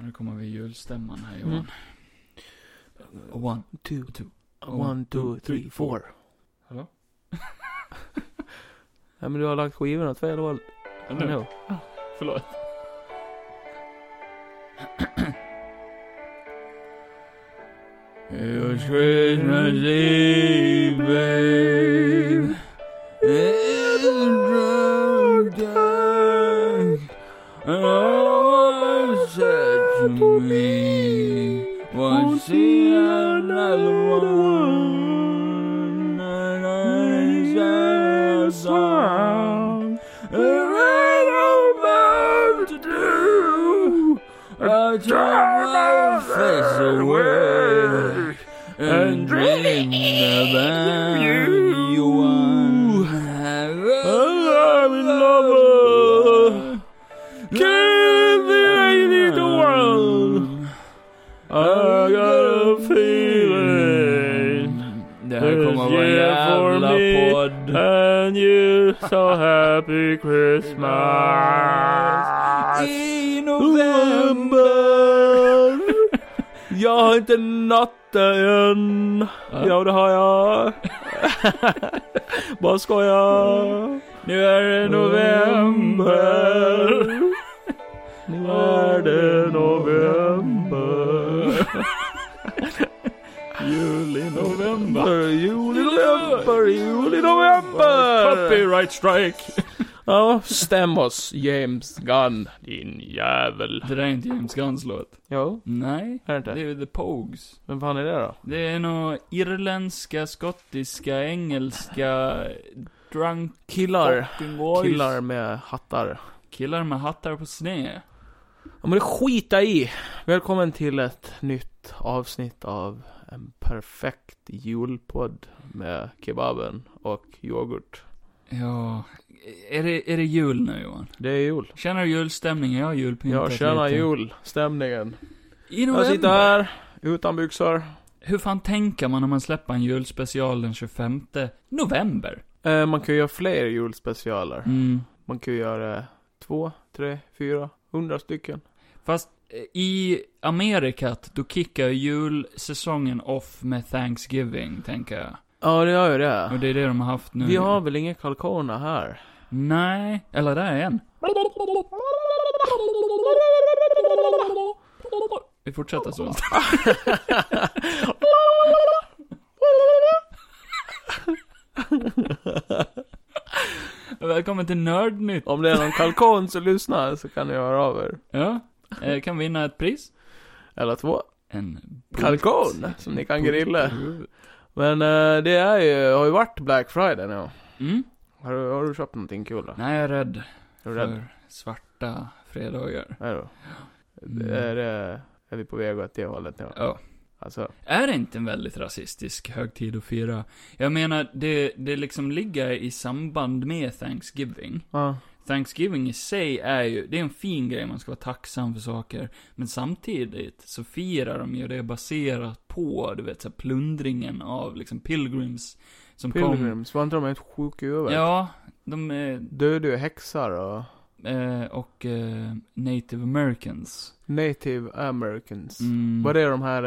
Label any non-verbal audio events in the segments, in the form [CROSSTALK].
Nu kommer vi i julstämman här Mm. Johan. Och one. Two, two. One, two, three, four. Hallå? Nej men du har lagt skivorna åt fel håll. Ja, Men nu. jo. Förlåt. It was Christmas Eve, babe. It's dark, dark. And all I said to me was see another one. And I sang a song. There ain't no more to do. I turn my face away and dream about you. one. A lovely lover gave me the world. I got a Mm. feeling. Det här kommer vara en jävla podd. And you so happy Christmas. I november. Jag har inte natten än. Ja det har [LAUGHS] jag. Bara skojar. Nu är det november. Nu är det november. Jul i november. november, juli, november, juli, november! Copyright strike. Ja, stäm oss, James Gunn, din jävel. Det där är inte James Gunns låt. Jo, Nej. är det Det är inte? ju The Pogues. Vem fan är det då? Det är några irländska, skottiska, engelska, drunk Killar. fucking boys. Killar med hattar. Killar med hattar på sned. Ja men det skita i! Välkommen till ett nytt avsnitt av en perfekt julpodd med kebaben och yoghurt. Ja. Är det, är det jul nu Johan? Det är jul. Känner du julstämningen? Jag har julpyntat Jag känner lite. julstämningen. I Jag sitter november. här, utan byxor. Hur fan tänker man när man släpper en julspecial den 25 november? Eh, Man kan ju göra fler julspecialer. Mm. Man kan ju göra eh, två, tre, fyra, hundra stycken. Fast eh, i Amerikat, då kickar julsäsongen off med Thanksgiving, tänker jag. Ja, det gör ju Och det. det är det de har haft nu. Vi har väl inga kalkoner här? [LAUGHS] Nej, eller där är en. Vi fortsätter så. [LAUGHS] Välkommen till Nördnytt. Om det är någon kalkon som lyssnar så kan ni höra av er. Ja, eh, kan vinna ett pris. Eller två. En Mm. bult. Kalkon som ni kan Bult. grilla. Men eh, det är ju, har ju varit Black Friday nu. Mm. Har du, har du köpt någonting kul då? Nej, jag är rädd Är du rädd? för svarta fredagar. Är du? Mm. Är, det, är vi på väg åt det hållet nu? Ja. Alltså, Är det inte en väldigt rasistisk högtid att fira? Jag menar, det, det liksom ligger i samband med Thanksgiving. ja. Thanksgiving i sig är ju, det är en fin grej, man ska vara tacksam för saker. Men samtidigt så firar de ju det baserat på, du vet, så här plundringen av liksom pilgrims som kom. Pilgrims, var inte de helt sjuka i huvudet? Ja, de är, Dödade ju häxor och eh, och eh, native americans. native americans. Mm, Var det de här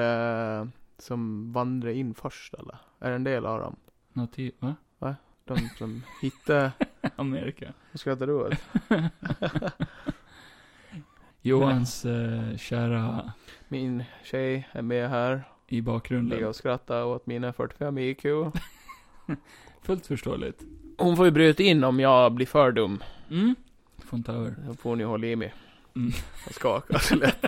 eh, som vandrade in först eller? Är det en del av dem? Mm, nati- va? [LAUGHS] De [LAUGHS] som hittade... Amerika. Vad skrattar du åt? Johans eh, kära Min tjej är med här. i Ligger bakgrunden. och skrattar åt mina 45 IQ. Fullt förståeligt. Hon får ju bryta in om jag blir för dum. Mm. Får inte ta över. Då får hon ju hålla i mig. [LAUGHS] Mm. Jag skakar så lätt.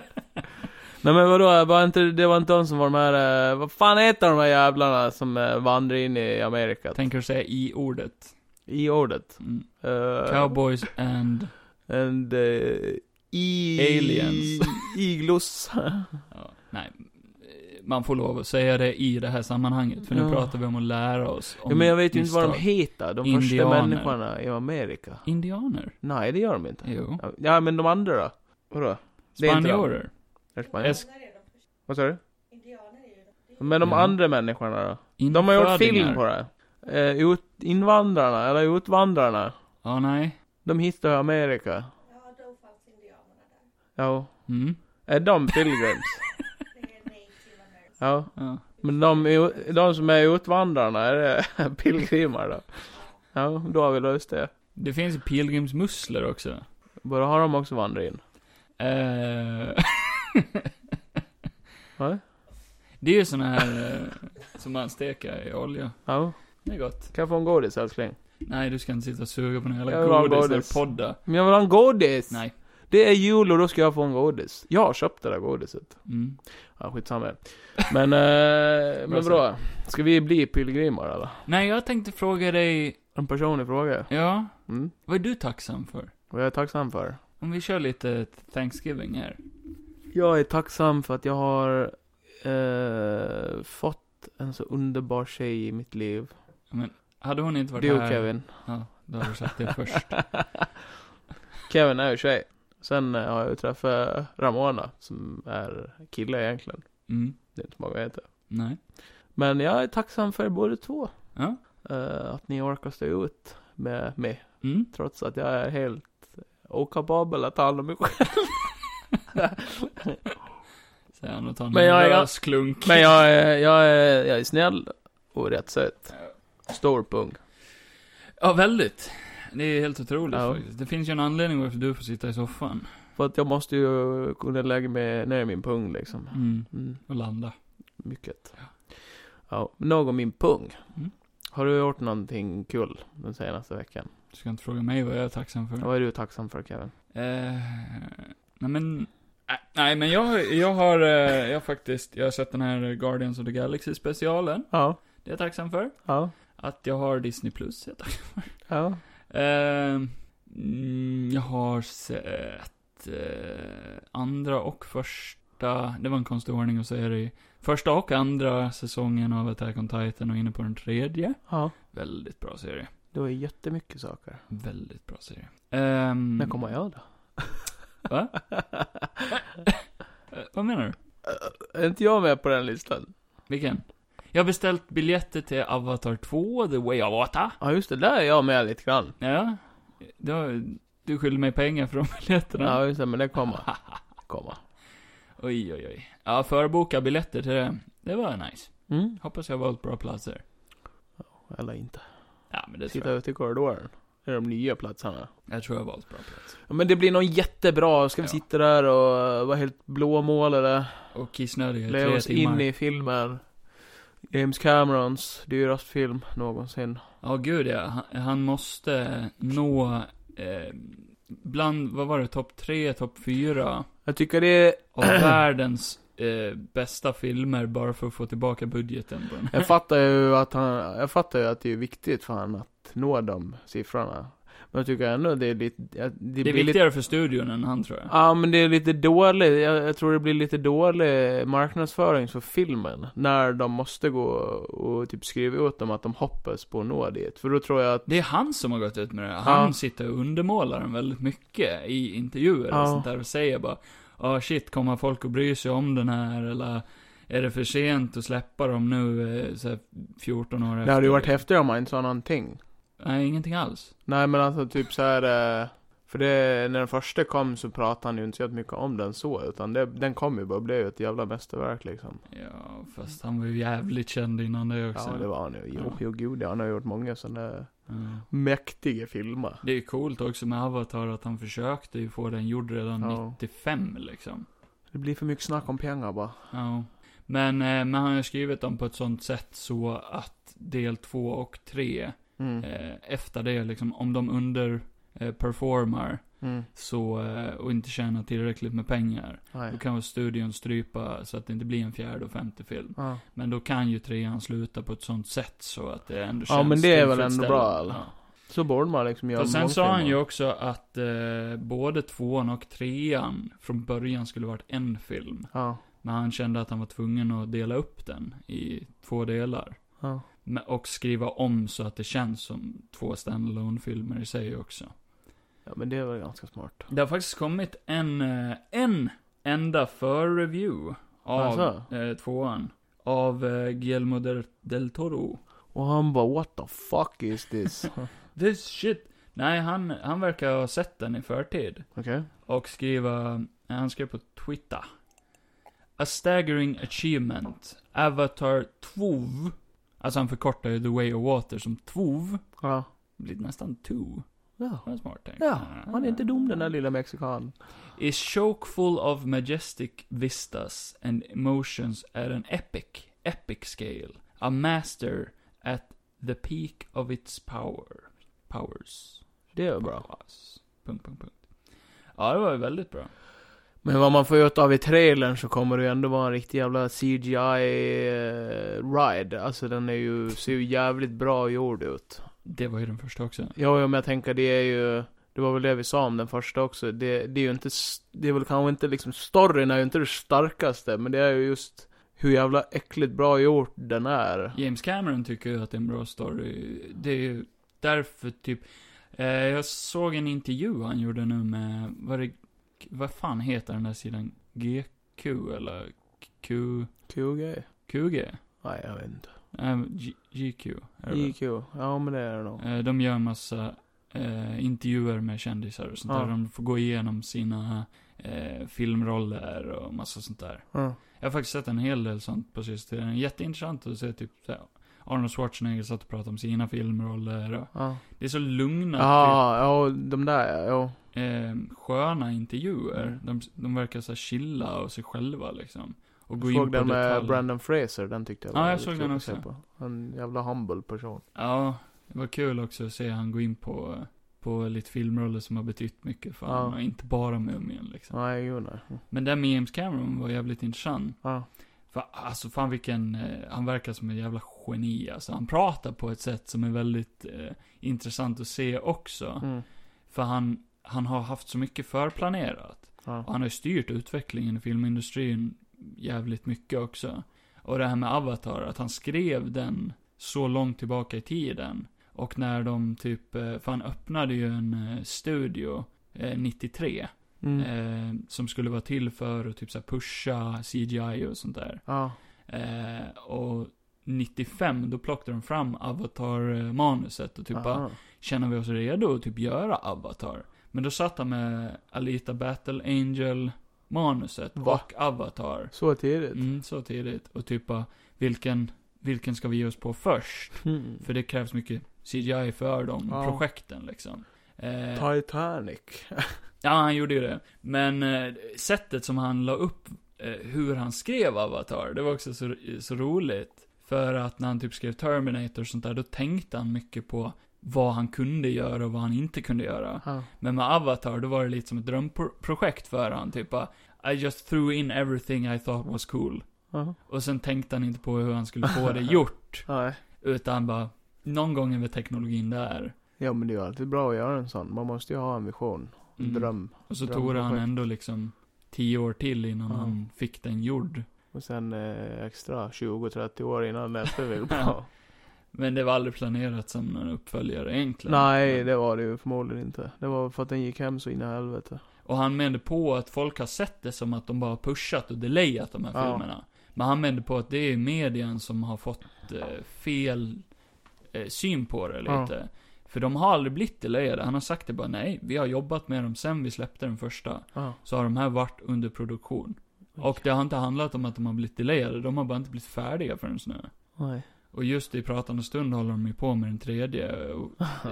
Nej men vadå, var inte, det var inte de som var de här, eh, vad fan heter de här jävlarna som eh, vandrade in i Amerika? Tänker säga i ordet. I ordet. Mm. Eh, Cowboys and... And eh, i... Aliens. [LAUGHS] Iglos. Ja, nej. Man får lov att säga det i det här sammanhanget, för nu Ja. pratar vi om att lära oss om ja, men jag vet ju inte vad de misstag. heter, de första Indianer. människorna i Amerika. Indianer? Nej, det gör de inte. Jo. Ja, men de andra då? Vadå? Det är inte de. Spanjorer? Är det spanjorer? Es- Vad sa du? Men de Ja. andra människorna då? De har gjort film på det. Eh, ut, invandrarna, eller utvandrarna. Ja, nej. De hittade Amerika. Ja, Mm. Är de pilgrims? ja. Ja. Men de, ut- de som är utvandrarna, är det [LAUGHS] pilgrimer då? Ja, då har vi löst det. Det finns ju pilgrimsmusslor också. Borde har de också vandrat in? Eh, [LAUGHS] Va? det är ju såna här eh, som man steker i olja. Ja. Det är gott. Kan jag få en godis älskling? Nej, du ska inte sitta och suga på någon Jag vill ha jävla godis godis. eller podda. Men jag vill ha en godis! Nej. Det är jul och då ska jag få en godis. Jag har köpt det där godiset. Mm. Ja, skitsamma. Men, eh, Bra men [LAUGHS] bra. Ska vi bli pilgrimer eller? Nej, jag tänkte fråga dig, En personlig fråga. ja, Mm. vad är du tacksam för? Vad jag är tacksam för? Om vi kör lite Thanksgiving här. Jag är tacksam för att jag har eh, fått en så underbar tjej i mitt liv. Hade hon inte varit Du och här... Kevin. Ja, då har du sagt det först. Kevin är ju tjej. Sen eh, har jag ju träffat Ramona, som är kille egentligen. Mm. Det är inte många heter. Nej. Men jag är tacksam för er båda två. Ja. Eh, att ni orkar stå ut med mig. Mm. Trots att jag är helt okapabel att ta hand om mig själv. Säger han och tar en Men jag är- lösklunk. Men jag är, jag är, jag är snäll och rätt söt. Stor pung. Ja, väldigt. Det är helt otroligt Ja. faktiskt. Det finns ju en anledning varför du får sitta i soffan. För att jag måste ju kunna lägga mig ner i min pung liksom. Mm. Mm, Och landa. mycket. Ja, men nog om min pung. Mm. Har du gjort någonting kul den senaste veckan? Du ska inte fråga mig vad jag är tacksam för. Vad är du tacksam för Kevin? Eh, nej men, nej, nej men jag, jag har, eh, jag har faktiskt, jag har sett den här Guardians of the Galaxy specialen. Ja, Det är jag tacksam för. ja, Att jag har Disney plus, är jag tacksam för. ja. Eh, mm, jag har sett eh, andra och första, det var en konstig ordning att säga det i. Första och andra säsongen av Attack on Titan och inne på den tredje. Ja, Väldigt bra serie. det var jättemycket saker. Väldigt bra serie. Ehm, När kommer jag då? Va? eh, vad menar du? Är inte jag med på den listan? Vilken? Jag har beställt biljetter till Avatar 2, The Way of Water. Ja, just det. Där är jag med lite grann. Ja. Du, har- du skyller mig pengar för de [LAUGHS] biljetterna. Ja, just det. Men det kommer. Kommer. Oj, oj, oj. Ja, förboka biljetter till det. Det var nice. Mm. Hoppas jag valt bra platser. Eller inte. Ja, men det tror Sitta jag. ute i korridoren. Det är de nya platserna. Jag tror jag valt bra plats. Ja, men det blir någon jättebra. Ska vi Ja. sitta där och eh, vara helt blåmålade? Och kissnödiga i Leva tre oss timmar. in i filmen. James Camerons dyraste film någonsin. Ja, gud ja. Han, han måste nå... Eh, bland, vad var det? Topp tre, topp fyra Jag tycker det är... [CLEARS THROAT] av världens eh, bästa filmer bara för att få tillbaka budgeten på den. Jag fattar ju att han... Jag fattar ju att det är viktigt för han att nå de siffrorna. Men jag tycker ändå det är lite... att Det är blir lite viktigare för studion än han, tror jag. Ja, men det är lite dålig, jag, jag tror det blir lite dålig marknadsföring för filmen. När de måste gå och typ skriva ut dem att de hoppas på att nå dit. För då tror jag att, Det är han som har gått ut med det. Han Ja. sitter och undermålar den väldigt mycket i intervjuer Ja. och sånt där och säger bara Ja shit, kommer folk att bry sig om den här eller är det för sent att släppa dem nu eh, så här 14 år efter? det hade ju varit häftigare om man inte sa någonting. Nej, ingenting alls. Nej men alltså typ så här. eh, För det, när den första kom så pratade han ju inte så mycket om den så. Utan det, den kom ju bara och blev ju ett jävla mästerverk liksom. Ja, fast han var ju jävligt känd innan det också. Ja det var han ju. Jo, Ja. jo gud ja, han har gjort många sådana där Ja. mäktiga filmer. Det är ju coolt också med Avatar att han försökte ju få den gjord redan Ja. 95 liksom. Det blir för mycket snack om pengar bara. Ja. Men, eh, men han har skrivit dem på ett sånt sätt så att del 2 och 3 Mm. eh, efter det, liksom, om de underperformar eh, performar, Mm. så, eh, och inte tjänar tillräckligt med pengar, då Nej. kan väl studion strypa så att det inte blir en fjärde och femte film. Ja. Men då kan ju trean sluta på ett sånt sätt så att det ändå Ja, känns men det är väl ändå tillfredsställande. bra, eller? Så borde man liksom Ja. göra Och sen sa han mångfilmer. ju också att eh, både tvåan och trean från början skulle varit en film. Ja. Men han kände att han var tvungen att dela upp den i två delar. ja. Men- Och skriva om så att det känns som två standalone filmer i sig också. Ja men det var ganska smart. Det har faktiskt kommit en, eh, en enda för-review av Alltså? eh, tvåan. Av eh, Guillermo del, del Toro. Och han bara what the fuck is [LAUGHS] this? This shit. Nej, han, han verkar ha sett den i förtid. Okej. Och skriva eh, Han skrev på Twitter. A staggering achievement. Avatar Tvov. Alltså han förkortar ju The Way of Water som Tvov. Ja. Blir nästan Two. Ja. Det var smart tänkt. Ja, han är inte dum den där lilla mexikanen. Is choke full of majestic vistas and emotions at an epic, epic scale. A master at the peak of its power. Powers. Det är bra. Powers. Punkt, punkt, punkt. Ja, det var ju väldigt bra. Men vad man får ut av i trailern så kommer det ju ändå vara en riktig jävla CGI-ride. Alltså den är ju, ser ju jävligt bra gjord ut. Det var ju den första också. Ja, ja, men jag tänker det är ju, det var väl det vi sa om den första också. Det, det är ju inte, s- det är väl kanske inte liksom, storyn är ju inte det starkaste, men det är ju just hur jävla äckligt bra gjort den är. James Cameron tycker ju att det är en bra story. Det är ju därför typ, eh, jag såg en intervju han gjorde nu med, vad, det, vad fan heter den där sidan? GQ eller Q, QG? QG? Nej, jag vet inte. Eh, G, GQ är det väl? IQ? Ja, men det är det nog. Eh, De gör en massa eh, intervjuer med kändisar och sånt Ja. där. De får gå igenom sina eh, filmroller och massa sånt där. Ja. Jag har faktiskt sett en hel del sånt på sistone. Jätteintressant att se typ så här, Arnold Schwarzenegger satt och pratade om sina filmroller. Och Ja. det är så lugna, Ja, ja, de där ja. typ, eh, sköna intervjuer. Mm. De, de verkar så här chilla och sig själva liksom. Och gå Jag in på såg den med detaljer. Brandon Fraser, den tyckte jag Ja, jag väldigt såg kul den att också. se på. En jävla humble person. Ja, det var kul också att se han gå in på, på lite filmroller som har betytt mycket för Ja. honom. Och inte bara Mumien liksom. Nej, jo nej. Men den med James Cameron var jävligt intressant. Ja. För, alltså fan vilken, eh, han verkar som en jävla geni alltså. Han pratar på ett sätt som är väldigt eh, intressant att se också. Mm. För han, han har haft så mycket förplanerat. Ja. Och han har ju styrt utvecklingen i filmindustrin jävligt mycket också. Och det här med Avatar, att han skrev den så långt tillbaka i tiden. Och när de typ, eh, för han öppnade ju en eh, studio eh, 93. Mm. Eh, som skulle vara till för att typ så här pusha CGI och sånt där. Ja. Eh, och 95, då plockade de fram Avatar-manuset och typ bara, Aha. känner vi oss redo att typ göra Avatar? Men då satt han med Alita Battle Angel-manuset Va? och Avatar. Så tidigt? Mm, så tidigt. Och typ bara, vilken, vilken ska vi ge oss på först? Mm. För det krävs mycket CGI för de Ja. projekten liksom. Eh, [LAUGHS] Titanic. Ja, han gjorde ju det. Men eh, sättet som han la upp eh, hur han skrev Avatar, det var också så, så roligt. För att när han typ skrev Terminator och sånt där, då tänkte han mycket på vad han kunde göra och vad han inte kunde göra. Ja. Men med Avatar, då var det lite som ett drömprojekt för han. Typ bara, I just threw in everything I thought was cool. Ja. Och sen tänkte han inte på hur han skulle få det gjort. Nej. Utan bara, någon gång är väl teknologin där. Ja men det är ju alltid bra att göra en sån. Man måste ju ha en vision. En Mm. dröm. Och så tog det han Drömprojekt. ändå liksom tio år till innan Ja. han fick den gjord. Och sen eh, extra 20-30 år innan nästa [LAUGHS] vill bra. Men det var aldrig planerat som någon uppföljare egentligen. Nej, Men- det var det ju förmodligen inte. Det var för att den gick hem så in i helvete. Och han menade på att folk har sett det som att de bara har pushat och delayat de här Ja. filmerna. Men han menade på att det är medien som har fått eh, fel eh, syn på det Ja. lite. För de har aldrig blivit delayade. Han har sagt det bara, nej, vi har jobbat med dem sen vi släppte den första. Ja. Så har de här varit under produktion. Och det har inte handlat om att de har blivit delayade, de har bara inte blivit färdiga förrän nu. [LAUGHS] Nej. Och just i pratande stund håller de ju på med den tredje. [LAUGHS] Och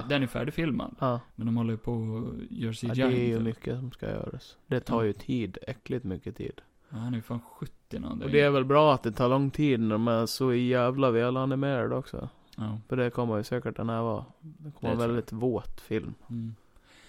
den är färdigfilmad. Ja. Men de håller ju på och gör CGI. Ja, det är ju till. mycket som ska göras. Det tar ju tid, äckligt mycket tid. Ja, han är ju fan 70 någonting. Och det är väl bra att det tar lång tid när de är så jävla välanimerade också. Ja. För det kommer ju säkert den här vara. Det tror kommer jag. en väldigt våt film. Mm.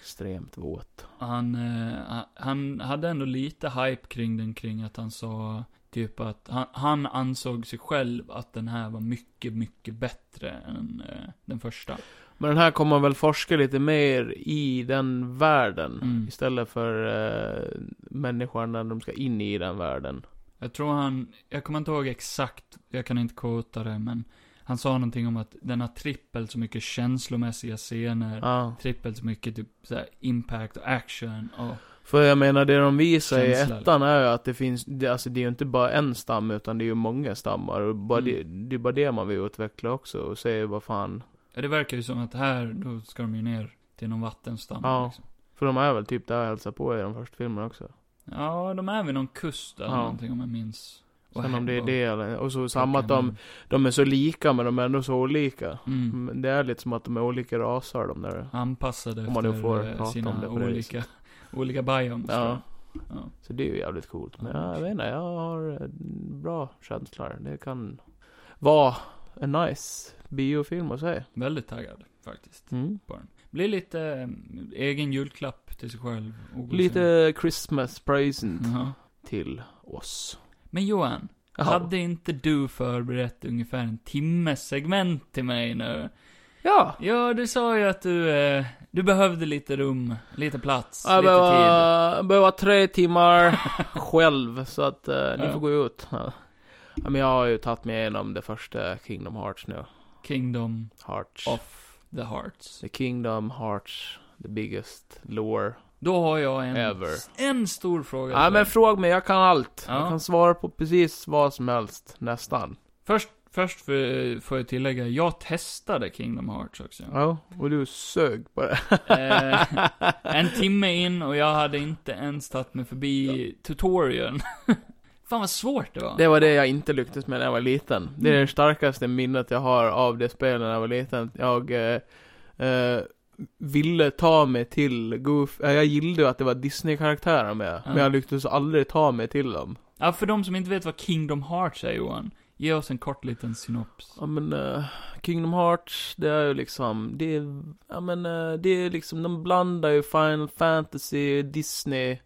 Extremt våt. Han, eh, han hade ändå lite hype kring den, kring att han sa typ att han, han ansåg sig själv att den här var mycket, mycket bättre än eh, den första. Men den här kommer man väl forska lite mer i den världen. Mm. Istället för eh, människan när de ska in i den världen. Jag tror han, jag kommer inte ihåg exakt, jag kan inte quota det, men han sa någonting om att den har trippelt så mycket känslomässiga scener. Ja. Trippelt så mycket typ såhär impact och action och... För jag menar det de visar Känsla, i ettan är ju att det finns, det, alltså det är ju inte bara en stam utan det är ju många stammar. Och bara Mm. det, det är bara det man vill utveckla också och se vad fan. Ja, det verkar ju som att här, då ska de ju ner till någon vattenstam. Ja. Liksom. För de är väl typ där och hälsar på i de första filmerna också. Ja, de är vid någon kust där Ja. någonting om jag minns. Och Sen om det är Hebbo. det eller... Och så samma att de, Pokemon. de är så lika men de är ändå så olika. Mm. Men Det är lite som att de är olika raser de där. Anpassade Om man nu efter får eh, prata om det sina på det olika, olika biomes. Ja. tror jag. Ja. Så det är ju jävligt coolt. Men jag, jag vet inte, jag har eh, bra känslor. Det kan vara en nice biofilm att se. Väldigt taggad faktiskt. Mm. Blir lite eh, egen julklapp till sig själv. och gå sen. Lite Christmas present Ja. till oss. Men Johan, hade inte du förberett ungefär en timmes segment till mig nu? Ja! Ja, du sa ju att du, eh, du behövde lite rum, lite plats, Jag lite tid. behöver, behöver tre timmar själv, så att eh, ni Ja. får gå ut. Ja. Ja, men jag har ju tagit mig igenom det första Kingdom Hearts nu. [LAUGHS] Kingdom Hearts. of the Hearts. The Kingdom Hearts, the biggest lore. Då har jag en, Ever. en stor fråga Ja, till men dig. fråga mig, jag kan allt. Ja. Jag kan svara på precis vad som helst, nästan. Först, först för, får jag tillägga, jag testade Kingdom Hearts också. Ja, och du sög på det. Eh, en timme in och jag hade inte ens tagit mig förbi tutorialen. [LAUGHS] Fan vad svårt det var. Det var det jag inte lyckades med när jag var liten. Det Mm. är det starkaste minnet jag har av det spelet när jag var liten. Jag eh, eh, ville ta mig till Goof. eh, Jag gillade ju att det var Disney-karaktärer med. Ja. Men jag lyckades aldrig ta mig till dem. Ja, för de som inte vet vad Kingdom Hearts är Johan, ge oss en kort liten synops. Ja men eh, Kingdom Hearts, det är ju liksom, det är, ja men eh, det är liksom, de blandar ju Final Fantasy, Disney.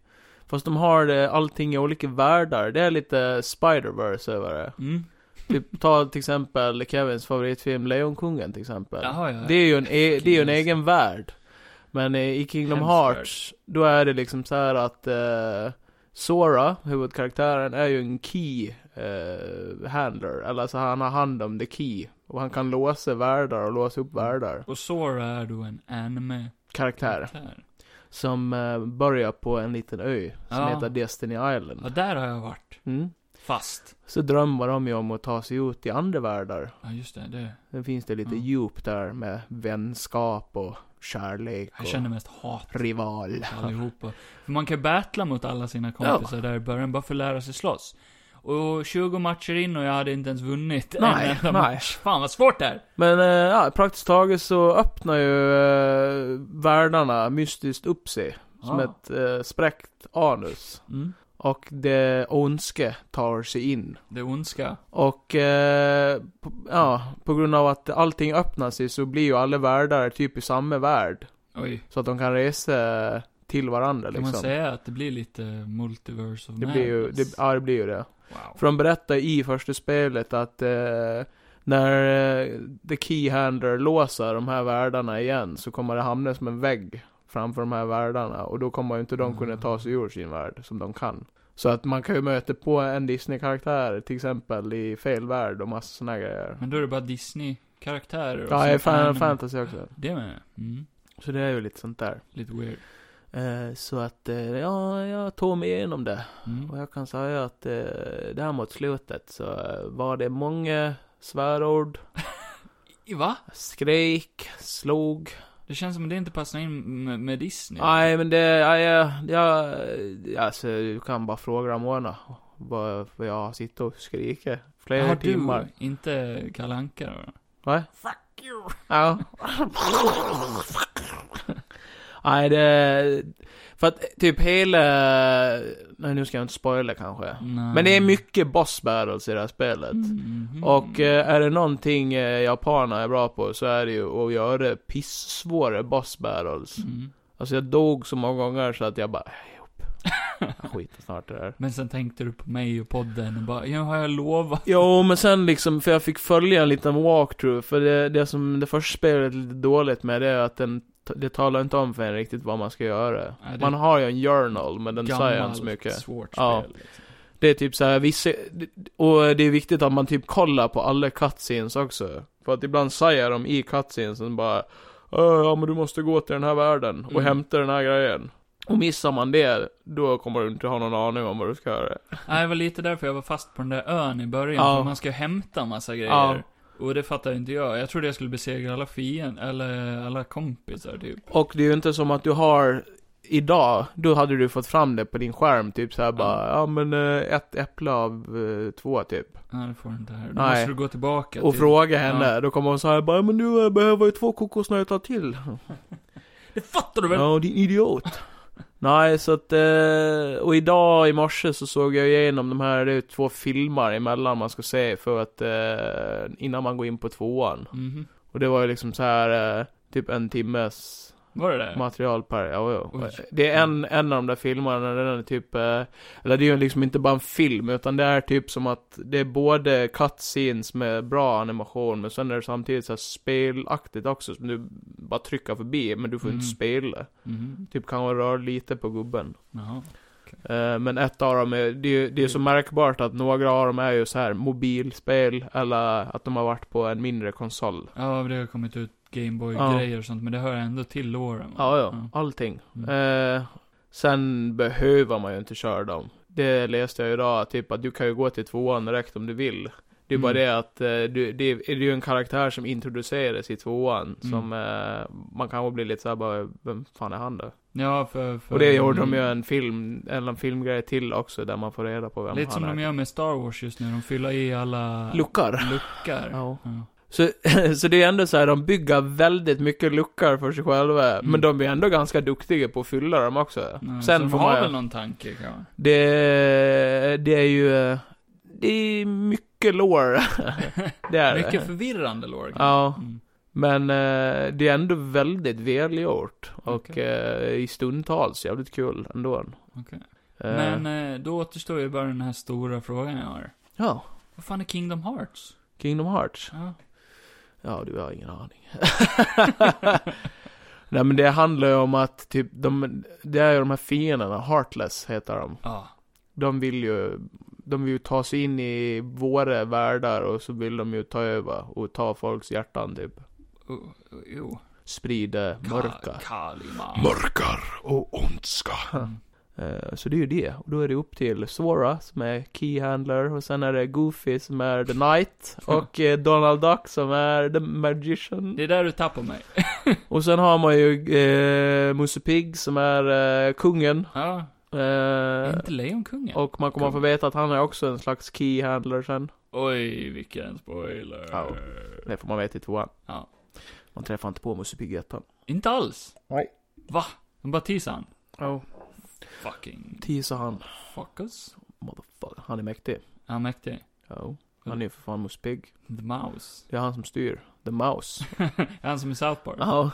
Fast de har det, allting i olika världar. Det är lite Spider-Verse över det. Mm. Typ ta till exempel Kevins favoritfilm Lejonkungen till exempel. Jaha, ja. Det är ju en, e- det är ju en Kingdom- egen värld. Men eh, i Kingdom Hemsk Hearts, då är det liksom så här att eh, Sora, huvudkaraktären, är ju en key eh, handler. Eller alltså han har hand om the key. Och han kan låsa världar och låsa Mm. upp världar. Och Sora är då en anime-karaktär. Karaktär. Som eh, börjar på en liten ö som Ja. heter Destiny Ja, Island. där har jag varit. Mm. Fast. Så drömmer de ju om att ta sig ut i andra världar. Ja, just det. det. Sen finns det lite Ja. djup där med vänskap och kärlek Jag och känner mest hat rival. mot allihopa. För man kan battla mot alla sina kompisar där i början, bara för att lära sig slåss. Och 20 matcher in och jag hade inte ens vunnit en Nej, enda nej. match. Fan vad svårt det är! Men eh, ja, praktiskt taget så öppnar ju eh, världarna mystiskt upp sig. Som Ja. ett eh, spräckt anus. Mm. Och det ondske tar sig in. Det ondska. Och eh, på, ja, på grund av att allting öppnar sig så blir ju alla världar typ i samma värld. Oj. Så att de kan resa till varandra Kan liksom. man säga att det blir lite multiverse of det blir ju, madness? det, ja, det blir ju det. Wow. För de berättar i första spelet att eh, när eh, The Keyhander låser de här världarna igen så kommer det hamna som en vägg framför de här världarna och då kommer ju inte de kunna ta sig ur sin värld som de kan. Så att man kan ju möta på en Disney-karaktär till exempel i fel värld och massa såna här grejer. Men då är det bara Disney-karaktärer och Ja, sånt i Final anime. Fantasy också. Det med? Mm. Så det är ju lite sånt där. Lite weird. Eh, så att, eh, ja, jag tog mig igenom det. Och Mm. jag kan säga att eh, där mot slutet så eh, var det många svärord, I- Va? skrek, slog. Det känns som att det inte passar in med, med Disney. Nej men det, jag, jag, jag, alltså du kan bara fråga Ramona. Vad vad jag har suttit och skrikit flera Har timmar. du, inte Kalle Anka då? Va? Fuck you! Ja. Nej det, för att typ hela, nej nu ska jag inte spoila kanske. Nej. Men det är mycket boss battles i det här spelet. Mhm. Och eh, är det någonting eh, japaner är bra på så är det ju att göra pissvåra boss battles. Mm. Alltså jag dog så många gånger så att jag bara, "Äh, upp. Jag skiter snart i det här. [LAUGHS] Men sen tänkte du på mig och podden och bara, ja har jag lovat? Jo, men sen liksom, för jag fick följa en liten walkthrough, för det, det som det första spelet är lite dåligt med det är att den, det talar inte om för en riktigt vad man ska göra. Nej, det- Man har ju en journal, men den säger inte Gammalt, så mycket. svårt Ja. spel. Liksom. Det är typ så här, vissa, och det är viktigt att man typ kollar på alla cutscenes också. För att ibland säger de i cutscenesen bara "Äh, Ja men du måste gå till den här världen och Mm. hämta den här grejen. Och missar man det, då kommer du inte ha någon aning om vad du ska göra. Nej, det var lite därför jag var fast på den där ön i början, Ja. för man ska hämta en massa grejer. Ja. Och det fattar inte jag. Jag trodde jag skulle besegra alla fiender, eller alla kompisar typ. Och det är ju inte som att du har idag, då hade du fått fram det på din skärm, typ såhär Ja. bara, ja men eh, ett äpple av eh, två typ. Ja, det får du inte här. Då Nej. måste du gå tillbaka Och till... fråga henne, då kommer hon såhär bara, men du eh, behöver ju två kokosnötter till. Det fattar du väl? Ja, din idiot. [LAUGHS] Nej, så att, eh, och idag i morse så såg jag igenom de här, det är ju två filmer emellan man ska se för att, eh, innan man går in på tvåan. Mhm. Och det var ju liksom så här eh, typ en timmes Var det det? material per, ja, ja. Oj. Mm. Det är en, en av de där filmerna, den är typ, eh, eller det är ju liksom inte bara en film, utan det är typ som att det är både cut scenes med bra animation, men sen är det samtidigt så här spelaktigt också, som du bara trycker förbi, men du får inte Mm. spela. Mhm. Typ kan man röra lite på gubben. Jaha. Eh, men ett av dem är, det är ju det är så Mm. märkbart att några av dem är ju så här mobilspel, eller att de har varit på en mindre konsol. Ja, det har kommit ut Ja. Gameboy-grejer och sånt, men det hör ändå till åren. va? Ja, ja, allting. Mm. Eh, sen behöver man ju inte köra dem. Det läste jag idag, typ att du kan ju gå till tvåan direkt om du vill. Det är bara Mm. det att eh, du, det, är, det är ju en karaktär som introduceras i tvåan, Mm. som eh, man kanske blir lite såhär bara, vem fan är han då? Ja, för... för Mm. Och det gjorde de ju en film, eller en filmgrej till också, där man får reda på vem Lite han som är. de gör med Star Wars just nu, de fyller i alla Luckor. luckor. Ja. Ja. Så, [LAUGHS] så det är ändå så här, de bygger väldigt mycket luckor för sig själva, Mm. men de är ändå ganska duktiga på att fylla dem också. Ja, så Sen de får har man väl ju, någon tanke kanske? det, det är ju, eh, det är mycket lore. [LAUGHS] det [LAUGHS] är Mycket det. förvirrande lore kanske. Ja, Mm. men eh, det är ändå väldigt välgjort och Okej. eh, i stundtals jävligt kul ändå. Okej. Eh, Men eh, då återstår ju bara den här stora frågan jag har. Ja, Vad fan är Kingdom Hearts? Kingdom Hearts. Ja. Ja, du har ingen aning. [LAUGHS] Nej men det handlar ju om att typ, de, det är ju de här fienderna, Heartless heter de. Ja. De vill ju, de vill ju ta sig in i våra världar och så vill de ju ta över och ta folks hjärtan typ. Oh, oh, jo. Sprida Ka- mörka. Kalima. Mörkar och ondska. Mm. Eh, Så det är ju det. Och då är det upp till Sora som är Keyhandler och sen är det Goofy som är The [LAUGHS] Knight och eh, Donald Duck som är The Magician. Det är där du tappar mig. Och sen har man ju eh, Musse Pigg som är eh, kungen. Ja. Är Eh, inte Lejonkungen? och man kommer att få veta att han är också en slags keyhandler sen. Oj, vilken spoiler. Ja. Det får man veta i tvåan. Ja. Man träffar inte på Musse Pigg i ettan. Inte alls. Nej. Va? De bara teasar han. Ja. Fucking Teaser han. fuckers. Motherfucker. Han är mäktig. Är han mäktig? Ja. Han är ju för fan Musse Pigg. The Mouse. [LAUGHS] Det är han som styr. The Mouse. Är han som i South Park? Ja.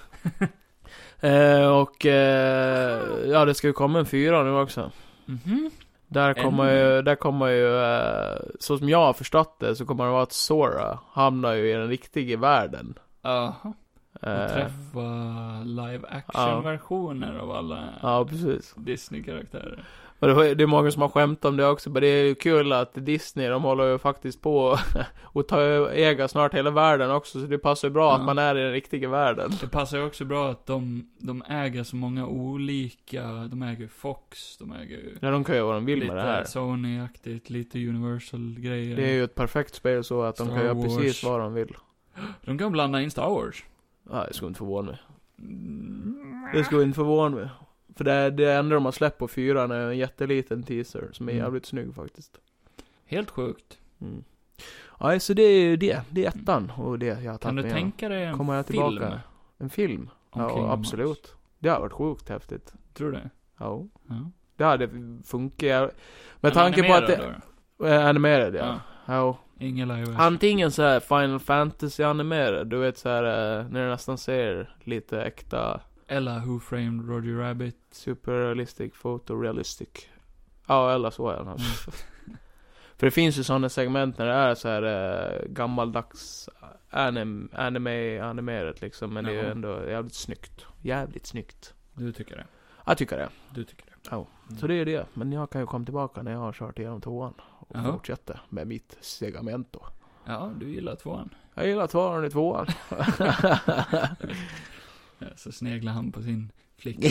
eh, och eh, ja, det ska ju komma en fyra nu också. Mhm. Där kommer Ännu. ju, där kommer ju, eh, så som jag har förstått det så kommer det vara att Sora hamnar ju i den riktiga världen. Jaha. Och Eh, träffa live action-versioner av alla ja, precis. Disney-karaktärer. Och det, var- det är många som har skämt om det också, men det är ju kul att Disney, de håller ju faktiskt på [LAUGHS] och tar ö- äga snart hela världen också, så det passar ju bra Ja. att man är i den riktiga världen. Det passar ju också bra att de, de äger så många olika, de äger ju Fox, de äger ju Ja, de kan ju göra vad de vill med det här. lite Sony-aktigt, lite Universal-grejer. Det är ju ett perfekt spel så att de Star kan göra Wars. precis vad de vill. De kan blanda in Star Wars. Ja, det skulle inte förvåna mig. Mm. Det skulle inte förvåna mig. För det, det enda de har släppt på fyran är en jätteliten teaser som är Mm. jävligt snygg faktiskt. Helt sjukt. Mm. Ja, så det är ju det. Det är ettan och det jag har Kan tagit du med mig. tänka dig en Kommer jag film? tillbaka? En film? om Ja, Kingdom Hearts? absolut. Det har varit sjukt häftigt. Tror du det? Ja. Ja. Det hade funkat. Med En tanke på att det... animerad då? Eh, Animerad, ja. Ja. ja. Ingen live action. Antingen så här Final Fantasy animerad, du vet så här eh, när du nästan ser lite äkta Eller Who Framed Roger Rabbit. superrealistic, photorealistic. Ja, eller så är den här. Mm. [LAUGHS] För det finns ju sådana segment när det är så här eh, gammaldags eh, anim, anime, animerat liksom. Men det är ju Jaha. ändå jävligt snyggt. Jävligt snyggt. Du tycker det. Jag tycker det. Du tycker det. Ja. Så det är det. Men jag kan ju komma tillbaka när jag har kört igenom tvåan. Och Jaha. fortsätter med mitt segamento. Ja, du gillar tvåan. Jag gillar tvåan [LAUGHS] i tvåan. [LAUGHS] Ja, Så sneglar han på sin [LAUGHS] flicka.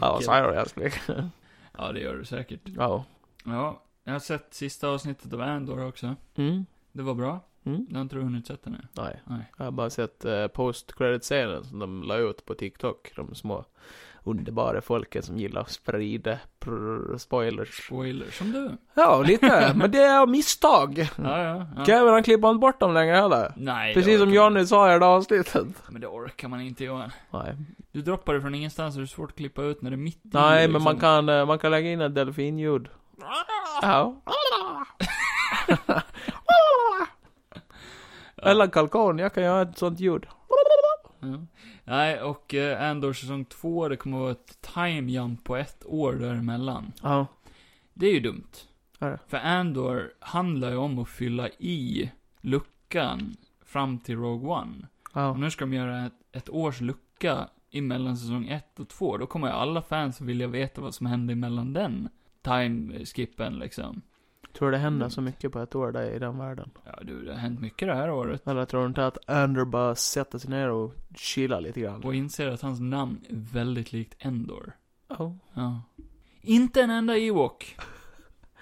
Ja, så är det älskling. ja, det gör du säkert. Ja. Ja, jag har sett sista avsnittet av Andor också. Mm. Det var bra. Mm. Du har inte hunnit sett den än? Nej. Nej. Jag har bara sett eh, post credit scenen som de la ut på TikTok. De små underbara folken som gillar att sprida pr- spoilers. Spoiler, som Mm. du. Ja, lite. men det är av misstag. Ja, ja. ja. Kevin han klipper inte bort dem längre heller. Nej, det Precis som orkar man- Johnny sa i det här avsnittet. Men det orkar man inte göra. Nej, Du droppar det från ingenstans och det är svårt att klippa ut när det är mitt i, Nej men liksom. man kan, eh, man kan lägga in ett delfinljud. Ja. [LAUGHS] Eller en kalkon, jag kan göra ett sånt ljud. Ja. Nej, och eh, Andor säsong två, det kommer vara ett time jump på ett år däremellan. Ja. Det är ju dumt. Ja, det. För Andor handlar ju om att fylla i luckan fram till Rogue One. Ja. Och nu ska de göra ett, ett års lucka emellan säsong 1 och 2. Då kommer ju alla fans vilja veta vad som hände emellan den time-skippen liksom. Tror det händer så Mm. mycket på ett år där i den världen? Ja du, det har hänt mycket det här året. Eller tror du inte att Ander bara sätter sig ner och chillar lite grann? Och inser att hans namn är väldigt likt Endor. Ja. Ja. Inte en enda Ewok.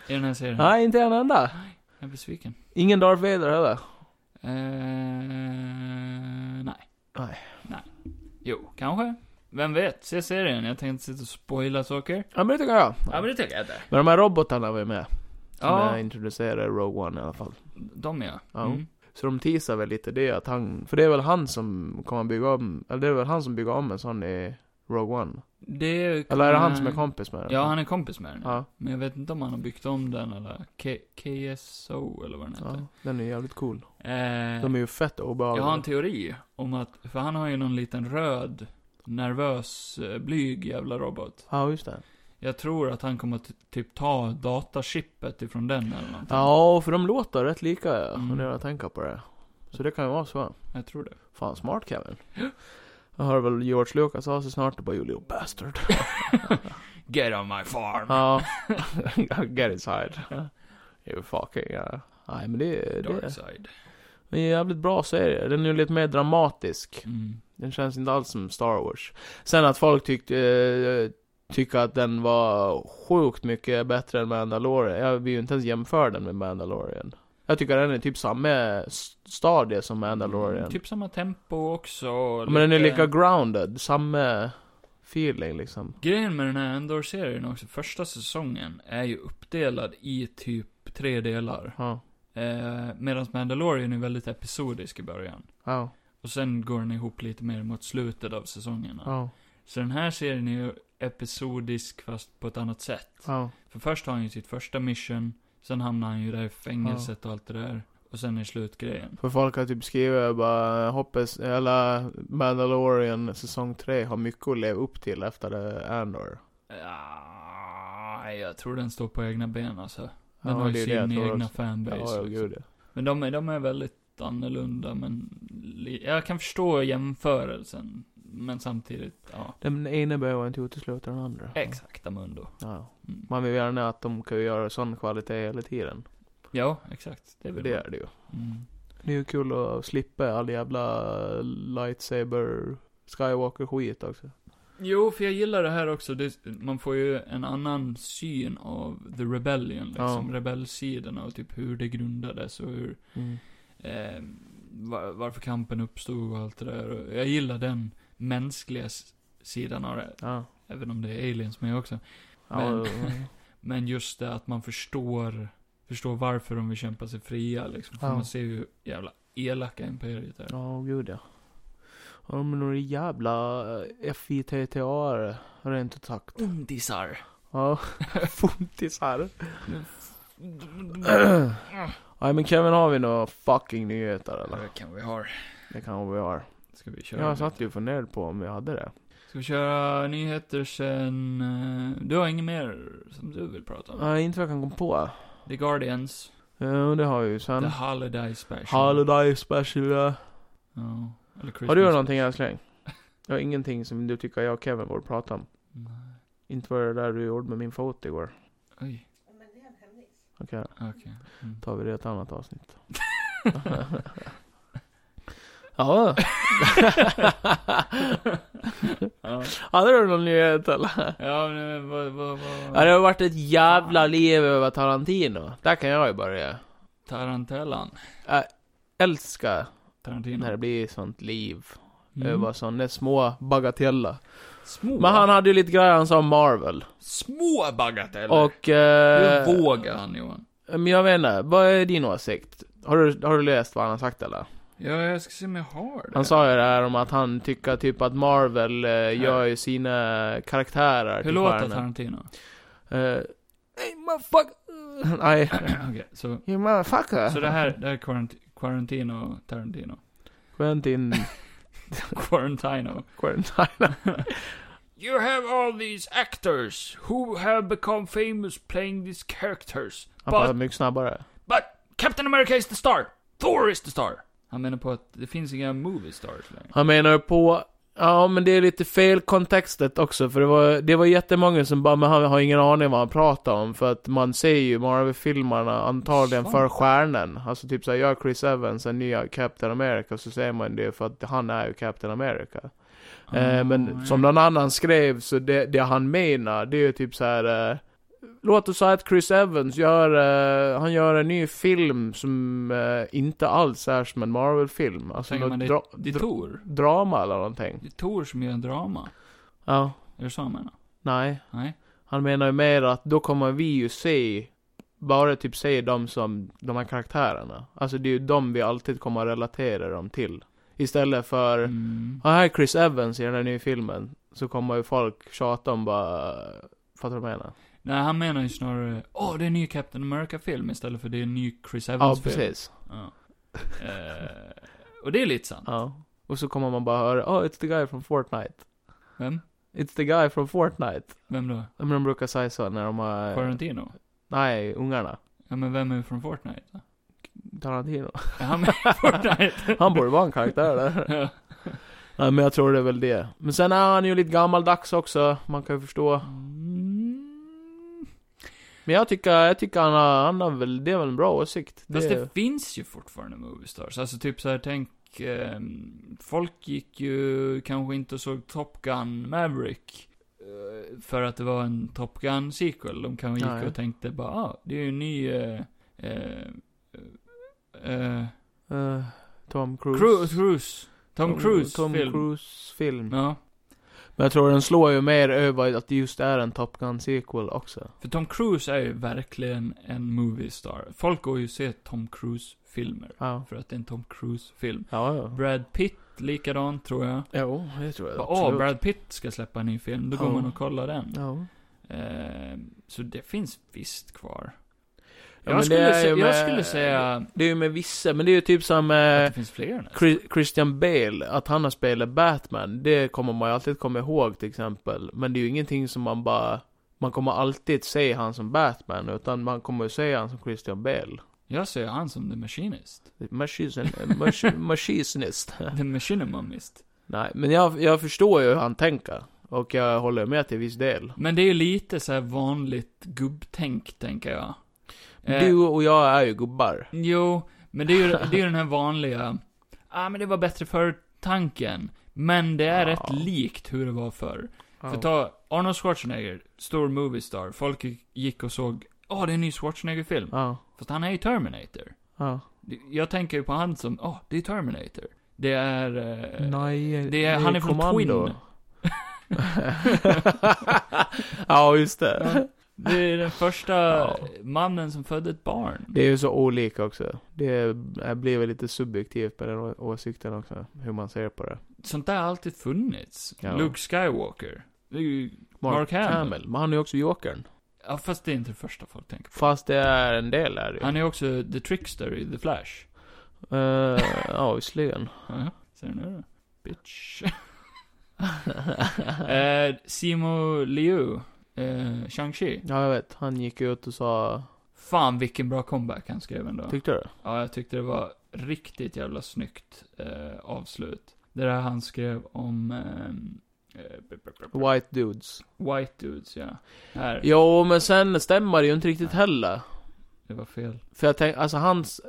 I den här serien. Nej, inte en enda. Jag är besviken. Ingen Darth Vader heller. Eh, nej. Nej. Nej. Jo, kanske. Vem vet? Se serien. Jag tänkte sitta och spoila saker. Ja, men det tycker jag. Ja, men det tycker jag inte. Men de här robotarna var ju med. Som Ja. jag introducerade i Rogue One i alla fall. De ja. Mm. Ja. Så de teasar väl lite det att han, för det är väl han som kommer bygga om, eller det är väl han som bygger om en sån i Rogue One? Det kan- Eller är det han som är kompis med den? Ja, han är kompis med den. Ja. Men jag vet inte om han har byggt om den eller K- KSO eller vad den heter. ja. Den är jävligt cool. Eh, De är ju fett jag obehagliga. har en teori om att, för han har ju någon liten röd, nervös, eh, blyg jävla robot. Ja, just det. Jag tror att han kommer att typ ta datachippet ifrån den eller någonting. Ja, för de låter rätt lika ja. Mm. Och det jag tänker på det. Så det kan ju vara så. Jag tror det. Fan, smart Kevin. [GASPS] Jag hör väl George Lucas av sig snart och bara 'You little bastard' Get on my farm! Ja. [LAUGHS] Get inside. You fucking yeah. Nej men det, det Dark är side. en jävligt bra serie. Den är ju lite mer dramatisk. Mm. Den känns inte alls som Star Wars. Sen att folk tyckte, eh, tyckte att den var sjukt mycket bättre än Mandalorian. Jag vill ju inte ens jämföra den med Mandalorian. Jag tycker den är typ samma s- stadie som Mandalorian. Typ samma tempo också. och Men den är lite- lika grounded, samma feeling liksom. Grejen med den här Endor-serien också, första säsongen är ju uppdelad i typ tre delar. Ja. Eh, Medan Mandalorian är väldigt episodisk i början. Ja. Och sen går den ihop lite mer mot slutet av säsongerna. Ja. Så den här serien är ju episodisk fast på ett annat sätt. Ja. För först har han ju sitt första mission, sen hamnar han ju där i fängelset och allt det där. Och sen är slutgrejen. För folk har typ skrivit bara, hoppas, eller Mandalorian säsong 3 har mycket att leva upp till efter eh, Andor. Ja, jag tror den står på egna ben alltså. Den Ja, har ju det är det jag sin tror egna också. fanbase. Ja, ja, liksom. gud ja. Men de, är- de är väldigt annorlunda, men li- jag kan förstå jämförelsen. Men samtidigt, ja. Den ena behöver inte utesluta den andra. Exakt, Amundo. Ja. Mm. Man vill gärna att de kan göra sån kvalitet hela tiden. Ja, exakt. Det är För väl det det. är det ju. Mm. Det är ju kul att slippa all jävla lightsaber Skywalker skit också. Jo, för jag gillar det här också. Det, man får ju en annan syn av The Rebellion, liksom. Ja. Rebellsidorna och typ hur det grundades och hur, eh, var, varför kampen uppstod och allt det där. Och Jag gillar den mänskliga s- sidan av det. Ja. Även om det är aliens med också. Ja, Men- ja. Men just det att man förstår, förstår varför de vill kämpa sig fria liksom. För Ja. man ser ju hur jävla elaka imperiet är. Ja, gud ja. Ja, de är några jävla eh, FITTA rent ut sagt. Undisar. [LAUGHS] Ja, funtisar. [CLEARS THROAT] Nej men Kevin, har vi några fucking nyheter eller? Det kan vi ha. Det kan vi ha. Ska vi köra? Jag satt ju och funderade på om jag hade det. Ska vi köra nyheter sen... eh, Du har inget mer som du vill prata om? Nej, inte vad jag kan komma på. The Guardians, Ja, det har jag ju sen. The Holiday Special. Um, Holiday special. ja. Ja. Eller Christmas. Har du gjort någonting älskling? Jag har ingenting som du tycker jag och Kevin borde prata om. Nej. Inte var det där du gjorde med min fot igår. Oj, Okej, okej. Mm. tar vi det i ett annat avsnitt. [LAUGHS] [LAUGHS] ja. Ja. Hade du någon nyhet eller? Ja, men eh, vad, vad, Ja, vad... det har varit ett jävla liv över Tarantino. Där kan jag ju börja. Tarantellan. älskar Tarantino. när det blir sånt liv Mm. över sådana små bagateller. Små, Men han hade ju lite grejer han sa om Marvel. små bagateller. Och... Eh, Hur vågar han Johan? men jag vet inte, vad är din åsikt? Har du, har du läst vad han har sagt eller? Ja, jag ska se om jag har det. Han sa ju det här om att han tycker typ att Marvel eh, gör ju sina karaktärer Hur till låter stjärnor. Tarantino? [CLEARS THROAT] Eh, Hey motherfucker! Nej. Okej, så, You motherfucker! så det här, det här är Quarant- Quarantino Tarantino. [LAUGHS] [LAUGHS] Quentin... Quarantino. Quarantine. You have all these actors who have become famous playing these characters. Han pratar mycket snabbare. but Captain America is the star. Thor is the star. Han menar på att det finns inga movie stars längre. Han menar på... Ja, men det är lite fel kontextet också, för det var, det var jättemånga som bara, men han har ingen aning vad han pratar om, för att man ser ju Marvel-filmerna antagligen Sant. för stjärnan. Alltså typ såhär, gör Chris Evans en nya Captain America, så säger man det för att han är ju Captain America. Ah, Mm. Eh, men som någon annan skrev, så det, det han menar, det är ju typ så här. Eh, låt oss säga att Chris Evans gör, eh, han gör en ny film som eh, inte alls är som en Marvel-film. Alltså Tänker något man det, dra- det är dra- Thor. drama eller någonting. Det är Thor som gör en drama. Ja, Är det så han menar? nej. Nej. Han menar ju mer att då kommer vi ju se, bara typ se dem som, de här karaktärerna. Alltså det är ju dem vi alltid kommer att relatera dem till. Istället för Mm. Ja, här är Chris Evans i den här nya filmen. Så kommer ju folk tjata om bara... Fattar du vad jag menar? Nej, han menar ju snarare, åh, det är en ny Captain America-film istället för det är en ny Chris Ja, Evans-film. precis. Ja. Eh, och det är lite sant. Ja. Och så kommer man bara höra, oh, it's the guy from Fortnite. Vem? It's the guy from Fortnite. Vem då? Ja, Men de brukar säga så när de har... Quarantino? Nej, ungarna. Ja, men vem är från Fortnite? då? Tarantino. Är han med [LAUGHS] i Fortnite? Han borde vara en karaktär där. [LAUGHS] Ja. Nej, men jag tror det är väl det. Men sen är han ju lite gammaldags också, man kan ju förstå. Mm. Men jag tycker, jag tycker han har, han har väl, det är väl en bra åsikt. Fast Det- det finns ju fortfarande Moviestars. Alltså typ så här, tänk, ehm, folk gick ju kanske inte och såg Top Gun Maverick. eh, För att det var en Top Gun sequel. De kanske gick Nej. och tänkte bara, ah, det är ju en ny... Eh, eh, eh, Eh, Tom Cruise. Mm, Cruise. Cruise. Tom, Cruise Tom film. Cruise film. Ja. Men jag tror den slår ju mer över att det just är en Top Gun sequel också. För Tom Cruise är ju verkligen en movie star. Folk går ju och ser Tom Cruise-filmer. Ja. För att det är en Tom Cruise-film. Ja, ja. Brad Pitt, likadant tror jag. Jo, det tror jag Bara, Åh, Brad Pitt ska släppa en ny film. Då går Ja. man och kollar den. Ja. Eh, så det finns visst kvar. Ja, men jag, det skulle är se, ju jag med- skulle säga Det är ju med vissa, men det är ju typ som att eh, det finns fler nästan. Chris- Christian Bale, att han har spelat Batman, det kommer man ju alltid komma ihåg till exempel. Men det är ju ingenting som man bara, man kommer alltid se han som Batman, utan man kommer ju se han som Christian Bale. Jag ser han som The Machinist. Machisen- mach- Machisnist. The Machinimumist. [LAUGHS] Nej, men jag, jag förstår ju hur han tänker. Och jag håller med till viss del. Men det är ju lite så här vanligt gubbtänk, tänker jag. Eh, Du och jag är ju gubbar. Jo, men det är ju det är ju den här vanliga, ah men det var bättre förr-tanken. Men det är Ja. rätt likt hur det var förr. För ta Arnold Schwarzenegger, stor movie star. Folk gick och såg, åh det är en ny Schwarzenegger-film. Ja, Fast han är ju Terminator. ja. Jag tänker ju på han som, åh det är Terminator. Det är... Eh, Nej, det är- han är från Twin. [LAUGHS] ja, just det. det är den första [LAUGHS] Ja. mannen som födde ett barn. Det är ju så olika också. Det blir väl lite subjektivt med den å- åsikten också, hur man ser på det. Sånt där har alltid funnits. Ja. Luke Skywalker. Det är ju, Mark Hamill. Men han är ju också Jokern. ja, fast det är inte det första folk tänker på. Fast det är en del är det ju. Han är också the trickster i The Flash. Eh, Ja, visserligen. [LAUGHS] Ja, ser du nu då? Bitch. eh, Simo Liu, eh, Shang-Chi. Ja, jag vet. Han gick ut och sa... Fan vilken bra comeback han skrev ändå. Tyckte du? ja, jag tyckte det var riktigt jävla snyggt eh, avslut. Det där han skrev om... ehm, Eh, b- b- b- White dudes. white dudes, ja. Här, Jo, men sen stämmer det ju inte riktigt heller. det var fel. För jag tänkte, alltså hans...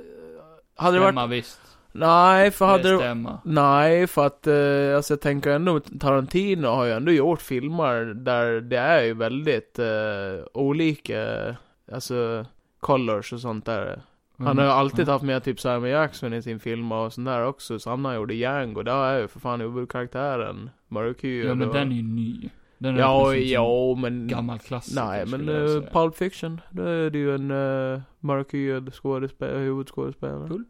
Hade det varit... Stämma visst. Nej, för hade det det... stämma. Nej, för att eh, alltså jag tänker ändå, Tarantino har ju ändå gjort filmer där det är ju väldigt eh, olika, alltså colors och sånt där. Mm. Han har ju alltid haft med typ Samuel Jackson i sin film och sånt där också. Samma han gjorde Django, där är ju för fan huvudkaraktären mörkhyad. Ja, men och- den är ju ny. Den är Ja, precis en ja, men... Gammal klassiker Nej, men Typ, skulle jag eh, säga. Pulp Fiction, då är det ju en uh, mörkhyad skådespel- huvudskådespelare. Pulp?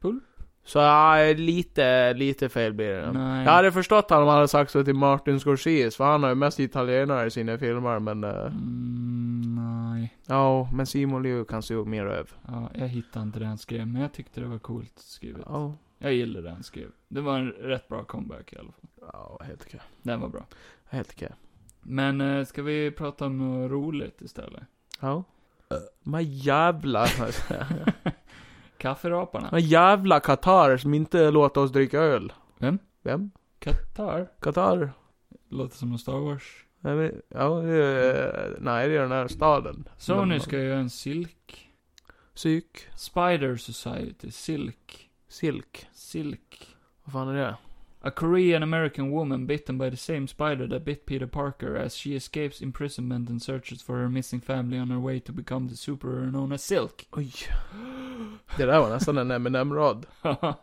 Pulp? Så ja, lite, lite fel blir det. Nej. Jag hade förstått han om han hade sagt så till Martin Scorsese, för han har ju mest italienare i sina filmer, men... eh, Mm, nej. Ja, men Simon Liu kan se mer över. Ja, jag hittade inte det han skrev, men jag tyckte det var coolt skrivet. Ja, Jag gillade det han skrev. Det var en rätt bra comeback i alla fall. ja helt okej. Den var bra. Helt okej. Men eh, ska vi prata om något roligt istället? Ja. Men jävla... [LAUGHS] Kafferaparna. Men jävla Qatar som inte låter oss dricka öl. Vem? Vem? Qatar? Qatar? Låter som någon Star Wars. Nej, men- Ja, det är, nej, det är den här staden. Sony ska göra en Silk. Psyk. Spider Society. Silk. Silk. Silk. Vad fan är det? A Korean American woman bitten by the same spider that bit Peter Parker as she escapes imprisonment and searches for her missing family on her way to become the superhero known as Silk. Oj. Det där var nästan en M&M-rad. ja,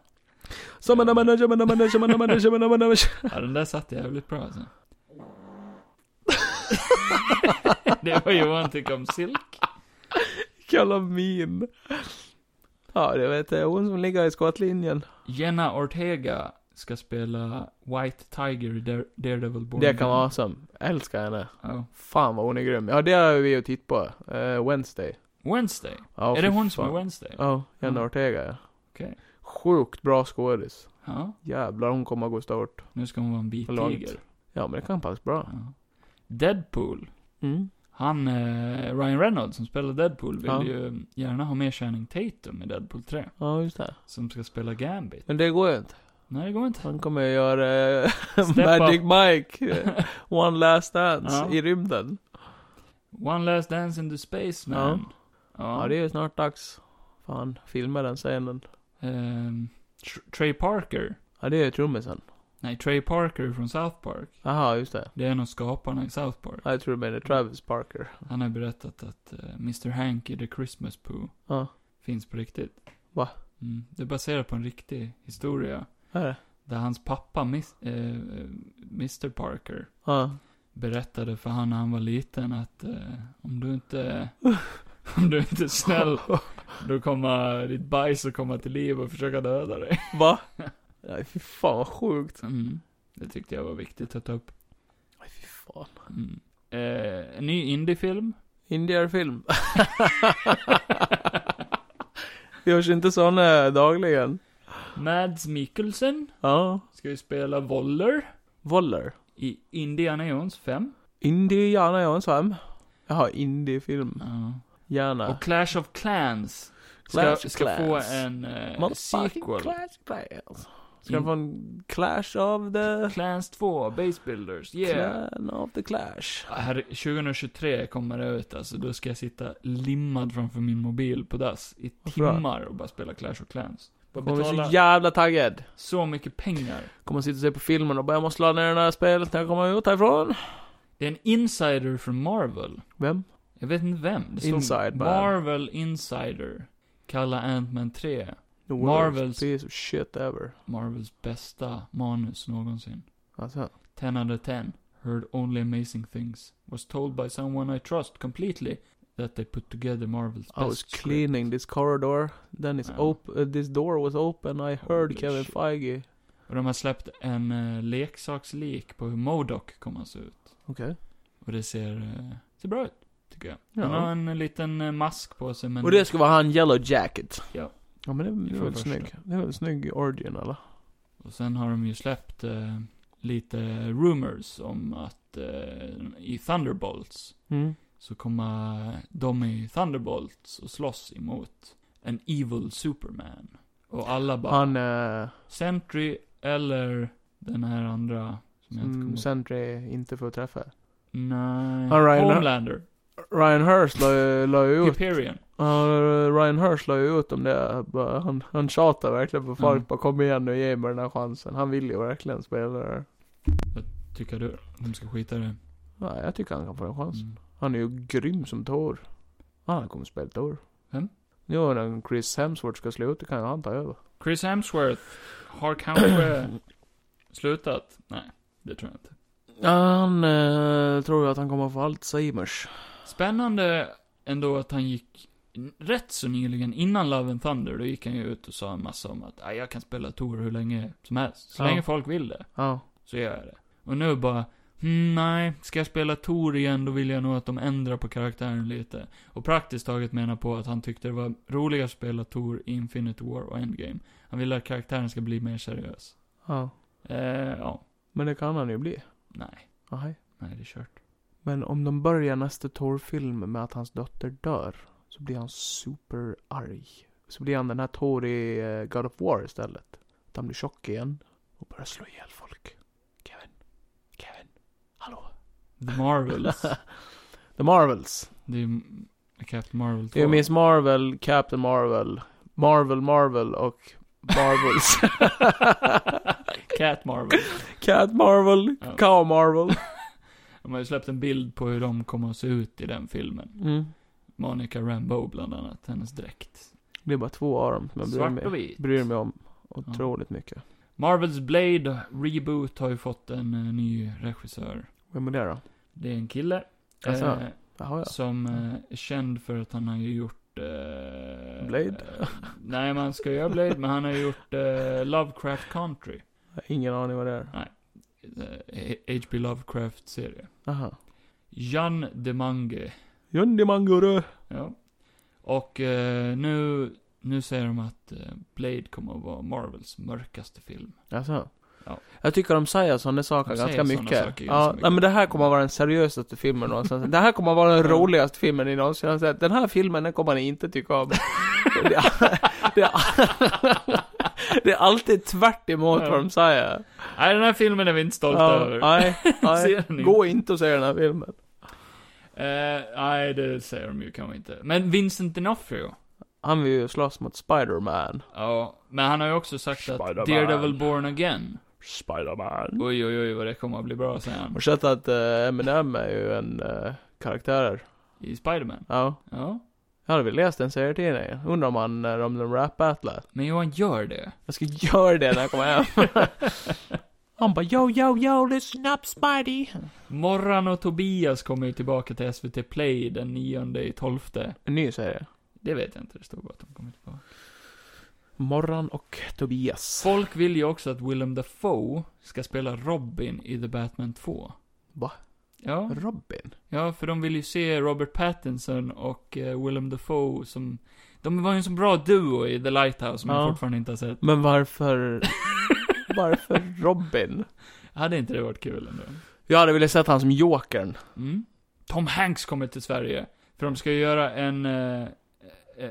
den [LAUGHS] där satt jävligt bra alltså. [LAUGHS] det var Johan tycker om Silk. Jävla min. Ja, det vet jag. Hon som ligger i skottlinjen. Jenna Ortega ska spela White Tiger i Dare- Daredevil Born. Det kan Again. vara awesome. Jag älskar henne. Ja. Fan vad hon är grym. Ja, det har vi ju tittat på. Eh, Wednesday. Wednesday. Ja, är det fy hon som fan. är Wednesday? Ja, Jenna Mm. Ortega ja. Okej. Sjukt bra skådis. Ja. Jävlar, hon kommer att gå stort. Nu ska hon vara en Långt. bittiger. Ja, men det kan passa bra. Ja. Deadpool. Mm. Han, eh, Ryan Reynolds som spelar Deadpool, vill Ja. ju mm, gärna ha med Channing Tatum i Deadpool 3. Ja, just det. Som ska spela Gambit. Men det går ju inte. Nej, det går [LAUGHS] inte. Han kommer att göra eh, Step Magic up. Mike. eh, One last dance Ja. i rymden. One last dance in the space man. Ja. det är ju snart dags. Fan, filma den scenen. Ehm, Tr- Trey Parker. Ja, det är ju trummisen. Nej, Trey Parker från South Park. Aha, just det. Det är en av skaparna i South Park. Ja, Jag tror du menar Travis Parker. Han har berättat att eh, Mr. Hank i The Christmas Pooh Ja, finns på riktigt. Va? Mm, det är baserat på en riktig historia. är det? Där hans pappa, mis- eh, Mr. Parker, Ja. berättade för han när han var liten att eh, om du inte, om du inte är snäll, då kommer ditt bajs att komma till liv och försöka döda dig. [LAUGHS] Va? Nej, fy fan vad sjukt. Mm. Det tyckte jag var viktigt att ta upp. Nej, fy fan. Mm. Eh, en ny indiefilm. Indier-film. [LAUGHS] Görs inte såna dagligen. Mads Mikkelsen Ja. ska ju spela Voller Voller. i Indiana Jones 5. Indiana Jones hem. Jaha, indiefilm. Ja. Gärna. Och Clash of Clans ska, Clash of ska Clans. få en eh, Motherfucking sequel. Clash Clans. Ska In- få en Clash of the... Clans 2, Base Builders, yeah. Clan of the Clash. Här, 2023 kommer det ut alltså, då ska jag sitta limmad framför min mobil på dass i Varför då? timmar och bara spela Clash of Clans. Bara Kommer betala så så, jävla taggad. mycket pengar. Kommer sitta och se på filmen och bara jag måste ladda ner det här spelet när jag kommer ut härifrån. Det är en insider från Marvel. Vem? Jag vet inte vem. Det stod Inside man. Marvel Insider. Kalla Ant-Man 3. The Marvels. worst piece of shit ever. Marvels bästa manus någonsin. Alltså. 10 out of 10. Heard only amazing things. Was told by someone I trust completely that they put together Marvels I best was script. cleaning this corridor, then it's Ja. op- uh, this door was open, I heard Holy Kevin shit. Feige. Och de har släppt en eh, leksakslik på hur Modoc kommer att se ut. Okej. Och det ser, eh, ser bra ut, tycker jag. Ja. Han har en eh, liten eh, mask på sig, men... Och det ska vara han Yellow Jacket. Ja. Ja men det, det är Från väl första. snygg. Det är väl snygg origin eller? Och sen har de ju släppt eh, lite rumors om att eh, i Thunderbolts Mm. så kommer de i Thunderbolts och slåss emot en evil Superman. Och alla bara, Han, eh, Sentry eller den här andra som jag inte kommer mm, ihåg. Sentry inte får träffa. Nej, Han Ryan- Homelander. Ryan Hurst la ju- la ju ut, Hyperion. Ja, Ryan Hurst la ju ut om det. Bara, Han, han tjatar verkligen på folk, Mm. bara kom igen nu, ge mig den här chansen. Han vill ju verkligen spela det här. Tycker du de ska skita i det? Nej, Alltså. jag tycker han kan få en chans. Mm. Han är ju grym som Thor. Han kommer spela Thor. Vem? Nu när Chris Hemsworth ska sluta kan ju han ta över. Chris Hemsworth har [CLEARS THROAT] kanske slutat? Nej, det tror jag inte. Han eh, tror ju att han kommer få Alzheimers. Spännande ändå att han gick rätt så nyligen, innan Love and Thunder, då gick han ju ut och sa en massa om att "Ah, jag kan spela Tor hur länge som helst. Så Ja. länge folk vill det, Ja. så gör jag det. Och nu bara, "Hmm, nej, ska jag spela Tor igen då vill jag nog att de ändrar på karaktären lite. Och praktiskt taget menar på att han tyckte det var roligare att spela Tor i Infinity War och Endgame. Han ville att karaktären ska bli mer seriös. Ja. Eh, ja, Men det kan han ju bli. nej, Nej. nej det är kört. Men om de börjar nästa Thor-film med att hans dotter dör, så blir han superarg. Så blir han den här Thor i eh, God of War istället. Att han blir tjock igen och börjar slå ihjäl folk. Kevin. Kevin. Hallå. The [LAUGHS] Marvels. The Marvels. det är m- Captain Marvel 2. Det är Miss Marvel, Captain Marvel, Marvel Marvel och [LAUGHS] Marvels. Cat Marvel. Cat Marvel, Ja. Cow Marvel. De har ju släppt en bild på hur de kommer att se ut i den filmen. Monica Rambeau bland annat, hennes dräkt. Det är bara två av dem som jag bryr Svart och mig, vit. bryr mig om Ja. otroligt mycket. Marvels Blade Reboot har ju fått en eh, ny regissör. Vem är det då? Det är en kille. Alltså, eh, Jaha, ja. Som eh, är känd för att han har ju gjort... Eh, Blade? Eh, nej, man ska göra Blade, men han har gjort eh, Lovecraft Country. Jag har Ingen aning vad det är. Eh, H.P. Lovecraft-serie. Aha. Jan Demange. Jundimanguru. Ja. Och eh, nu, nu säger de att eh, Blade kommer att vara Marvels mörkaste film. Alltså. Ja. Jag tycker de säger sådana saker De säger ganska såna mycket. saker ja, ganska Nej, mycket. men det här kommer att vara den seriösaste filmen någonsin. det här kommer att vara [LAUGHS] den Ja. roligaste filmen ni någonsin har sett. Den här filmen, den kommer ni inte tycka om. det, är, det, är, det är alltid tvärt emot Ja. vad de säger. Nej, den här filmen är vi inte stolta Ja, över. [LAUGHS] Nej, nej. Ser ni? Gå inte och se den här filmen. Eh, nej, det säger de ju kanske inte. Men Vincent D'Onofrio. Han vill ju slåss mot Spider-Man. Ja, men han har ju också sagt att Spider-Man. Daredevil Born Again. Spider-Man. Oj, oj, oj, vad det kommer att bli bra, säger han. Och sett att eh, Eminem är ju en eh, karaktär. I Spiderman. Ja. Ja. Jag hade väl läst en serietidning. Undrar om han, eh, om de rap-battlar. Men Johan gör det. Jag ska göra det när jag kommer hem. [LAUGHS] han bara yo, yo, yo, listen up Spidey. Morran och Tobias kommer ju tillbaka till SVT Play den 9 i 12. En ny serie. Det vet jag inte, det stod bara att de kommer tillbaka. Morran och Tobias. Folk vill ju också att Willem Dafoe ska spela Robin i The Batman 2. Va? Ja, Robin? ja för de vill ju se Robert Pattinson och eh, Willem Dafoe som... De var ju en så bra duo i The Lighthouse som Ja. jag fortfarande inte har sett. Men varför... [LAUGHS] varför Robin? Hade inte det varit kul ändå? Jag hade velat sett han som Jokern. Mm. Tom Hanks kommer till Sverige. För de ska ju göra en... Eh,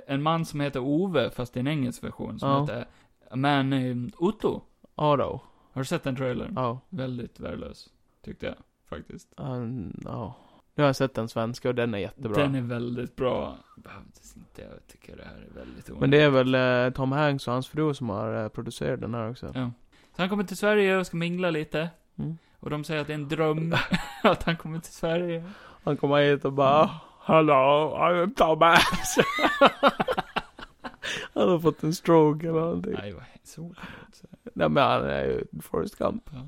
en man som heter Ove, fast i en engelsk version, som Ja. heter A Man Named Otto. Ja då. Har du sett den trailern? Ja. Väldigt värdelös, tyckte jag. Faktiskt. Han- ja. Nu har jag sett den svenska och den är jättebra. Den är väldigt bra. Behövdes inte, jag tycker det här är väldigt onödigt. Men det är väl eh, Tom Hanks och hans fru som har eh, producerat den här också. Ja. Så han kommer till Sverige och ska mingla lite. Mm. Och de säger att det är en dröm [LAUGHS] att han kommer till Sverige. Han kommer hit och bara Hello, I'm Tom Hanks. [LAUGHS] han har fått en stroke eller någonting. Nej, vad så. Nej men han är ju Forrest Gump. Ja.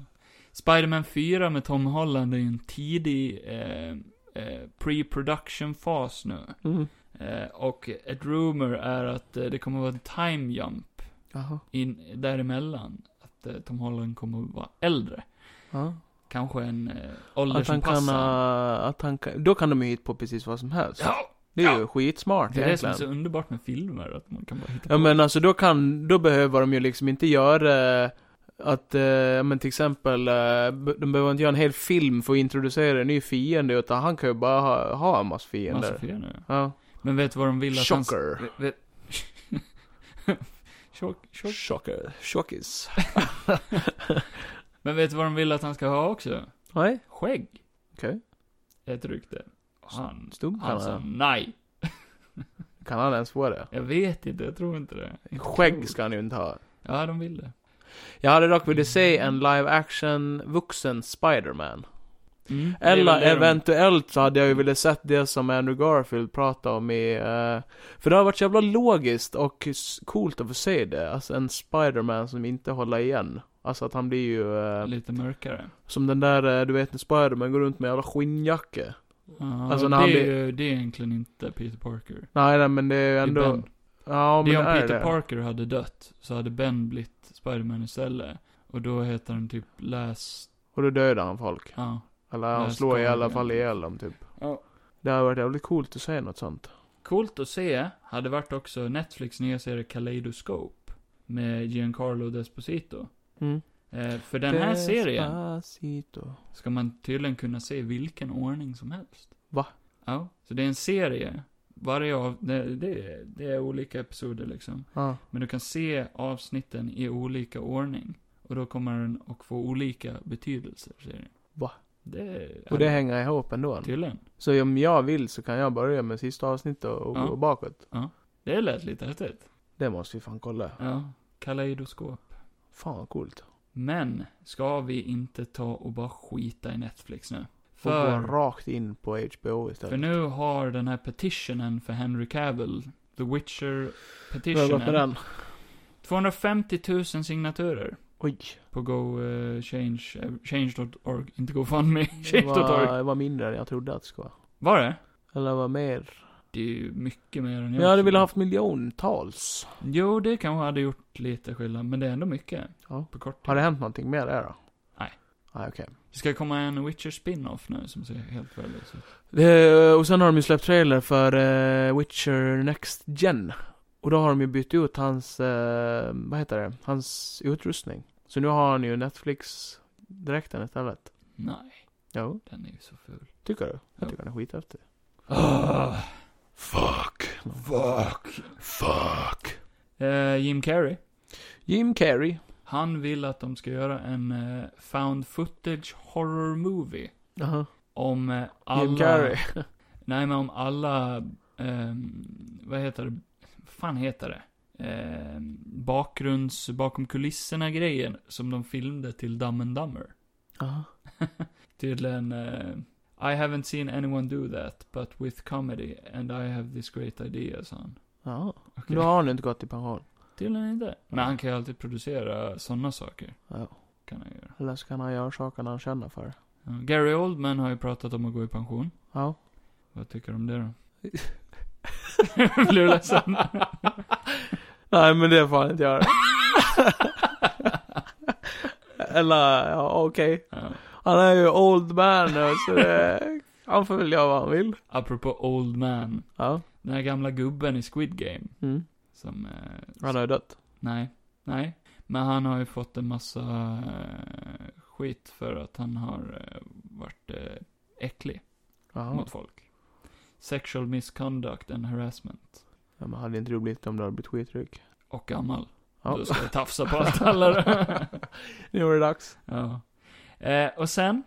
Spiderman 4 med Tom Holland är ju en tidig eh, eh, pre-production fas nu. Mm. Eh, och ett rumor är att eh, det kommer vara en time jump Jaha. in, däremellan. Att eh, Tom Holland kommer att vara äldre. Ja. Kanske en eh, Att han kan, åldersanpassad. eh, att han kan, då kan de ju hit på precis vad som helst. Ja, Det är ju skitsmart det är det som är egentligen. så underbart med filmer, att man kan bara hitta Ja på. men alltså då kan, då behöver de ju liksom inte göra eh, att, eh, men till exempel, eh, b- de behöver inte göra en hel film för att introducera en ny fiende utan han kan ju bara ha, ha en massa fiender. massa fel nu. Ja. Men vet du vad de vill att han... Chocker. Vet- [LAUGHS] vet- Chock, chock. Chocker. Chockis. Men vet du vad de vill att han ska ha också? Nej, Skägg. Okej. Ett rykte. Och Han, stum kan han sa han. nej. Kan han ens få det? Jag vet inte, jag tror inte det. Skägg ska han ju inte ha. Ja, de vill det. Jag hade dock velat se en live action vuxen Spiderman. Mm, det är Eller väl det de- eventuellt så hade jag ju velat sett det som Andrew Garfield pratade om i... eh, för det har varit så jävla logiskt och s- coolt att få se det. Alltså en Spider-Man som inte håller igen. Alltså att han blir ju... eh, Lite mörkare. som den där, eh, du vet när Spider-Man går runt med alla skinnjacka. Ja, Alltså, alltså, när det, han är, blir- ju- det är egentligen inte Peter Parker. Nej, nej men det är ju Det är ändå... Ben. Ja, men det är om är Peter det. Parker hade dött, så hade Ben blivit Spiderman istället. Och då heter han typ Last... Och då dödar han folk. Ja. Eller han Last slår i alla Guardian. fall ihjäl dem typ. ja. Det hade varit jävligt coolt att se något sånt. Coolt att se hade varit också Netflix nya serie Kaleidoscope. Med Giancarlo Desposito. Mm. Eh, för den här serien Despacito. ska man tydligen kunna se i vilken ordning som helst. Va? Ja. Så det är en serie. Varje av... Det, det, är- det är olika episoder liksom. Ja. Men du kan se avsnitten i olika ordning. Och då kommer den att få olika betydelser, säger den. Va? Det Och det hänger ihop ändå. Tydligen. Så om jag vill så kan jag börja med sista avsnittet och och Ja. gå bakåt. Det lät lite häftigt. Det måste vi fan kolla. Ja. Kaleidoskop. Fan vad coolt. Men, ska vi inte ta och bara skita i Netflix nu? Och gå För, rakt in på HBO för istället. nu har den här petitionen för Henry Cavill, The Witcher Hur har det gått med petitionen, den? 250 000 signaturer [LAUGHS] Oj. på go, eh, change, eh, change.org, inte [LAUGHS] GoFundMe, Det change.org. var, det var mindre än jag trodde att det skulle vara. Var det? Eller det var mer. Det är ju mycket mer än jag Jag hade trodde. velat haft miljontals. Jo, det kanske hade gjort lite skillnad, men det är ändå mycket. Ja. På kort Har tid. det hänt någonting mer där då? Nej. Nej okej. Det ska komma en Witcher spin-off nu som ser helt värdelös ut. Det- Eh, Och sen har de ju släppt trailer för eh, Witcher Next Gen. Och då har de ju bytt ut hans, eh, vad heter det, hans utrustning. Så nu har han ju Netflix-dräkten istället. Nej, Jo, den är ju så ful. tycker du? Ja. Jag tycker han är skithäftig. Ah. fuck. Fuck. Fuck. Eh, Jim Carrey. Jim Carrey. Han vill att de ska göra en eh, found footage horror movie. Jaha. Om eh, alla... Jim Carrey. Nej, men om alla... ehm, vad heter det? Vad fan heter det? Eh, bakgrunds... Bakom kulisserna-grejen som de filmade till Dumb and Dumber. [LAUGHS] Jaha. Tydligen, eh, I haven't seen anyone do that, but with comedy, and I have this great idea, sa han. Ja. Okej. Nu har han inte gått i pension. Tydligen inte. Men han kan ju alltid producera sådana saker. Ja. Kan han göra. Eller så kan han göra saker han känner för. Ja, Gary Oldman har ju pratat om att gå i pension. Ja. Vad tycker du om det då? [LAUGHS] Blir du ledsen? [LAUGHS] Nej men det får han inte [LAUGHS] göra. Eller, ja okej. ja. Han är ju old man nu så det, han får väl göra vad han vill. Apropå Old Man. Ja. Den här gamla gubben i Squid Game. Mm. Som, eh, Han har ju dött. nej, nej. Men han har ju fått en massa eh, skit för att han har eh, varit eh, äcklig. Jaha. mot folk. Sexual misconduct and harassment. Ja, men hade inte du blivit det om du hade blivit skitrygg? Och gammal. Ja. Då ska jag tafsa på allt alla. Nu är det dags. ja. eh, och sen,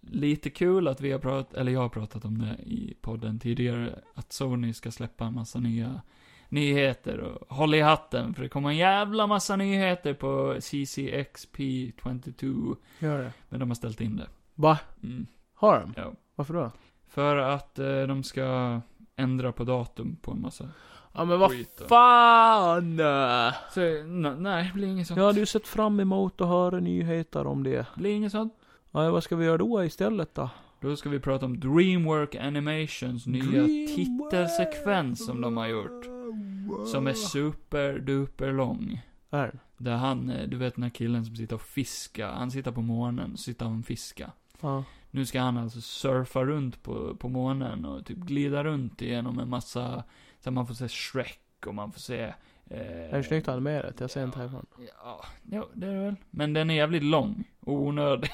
lite kul att vi har pratat, eller jag har pratat om det i podden tidigare, att Sony ska släppa en massa nya nyheter och håll i hatten för det kommer en jävla massa nyheter på CCXP22 Gör det. men de har ställt in det. Va? Mm, Har de? ja. Varför då? För att eh, de ska ändra på datum på en massa Ja men vad skit. och- fan! Så, n- nej, det blir inget sånt. Jag hade ju sett fram emot att höra nyheter om det. Det blir inget sånt. Ja, vad ska vi göra då istället då? Då ska vi prata om DreamWork Animations nya Dreamwork. titelsekvens som de har gjort. Som är superduper lång. Är den? Där han, eh, du vet den här killen som sitter och fiskar. Han sitter på månen, och sitter han och fiskar. Ja. Nu ska han alltså surfa runt på, på månen och typ glida runt igenom en massa, så man får se Shrek och man får se... Eh, Är det snyggt animerat? Jag ser inte härifrån. Ja, jo, det är det väl. Men den är jävligt lång och onödig.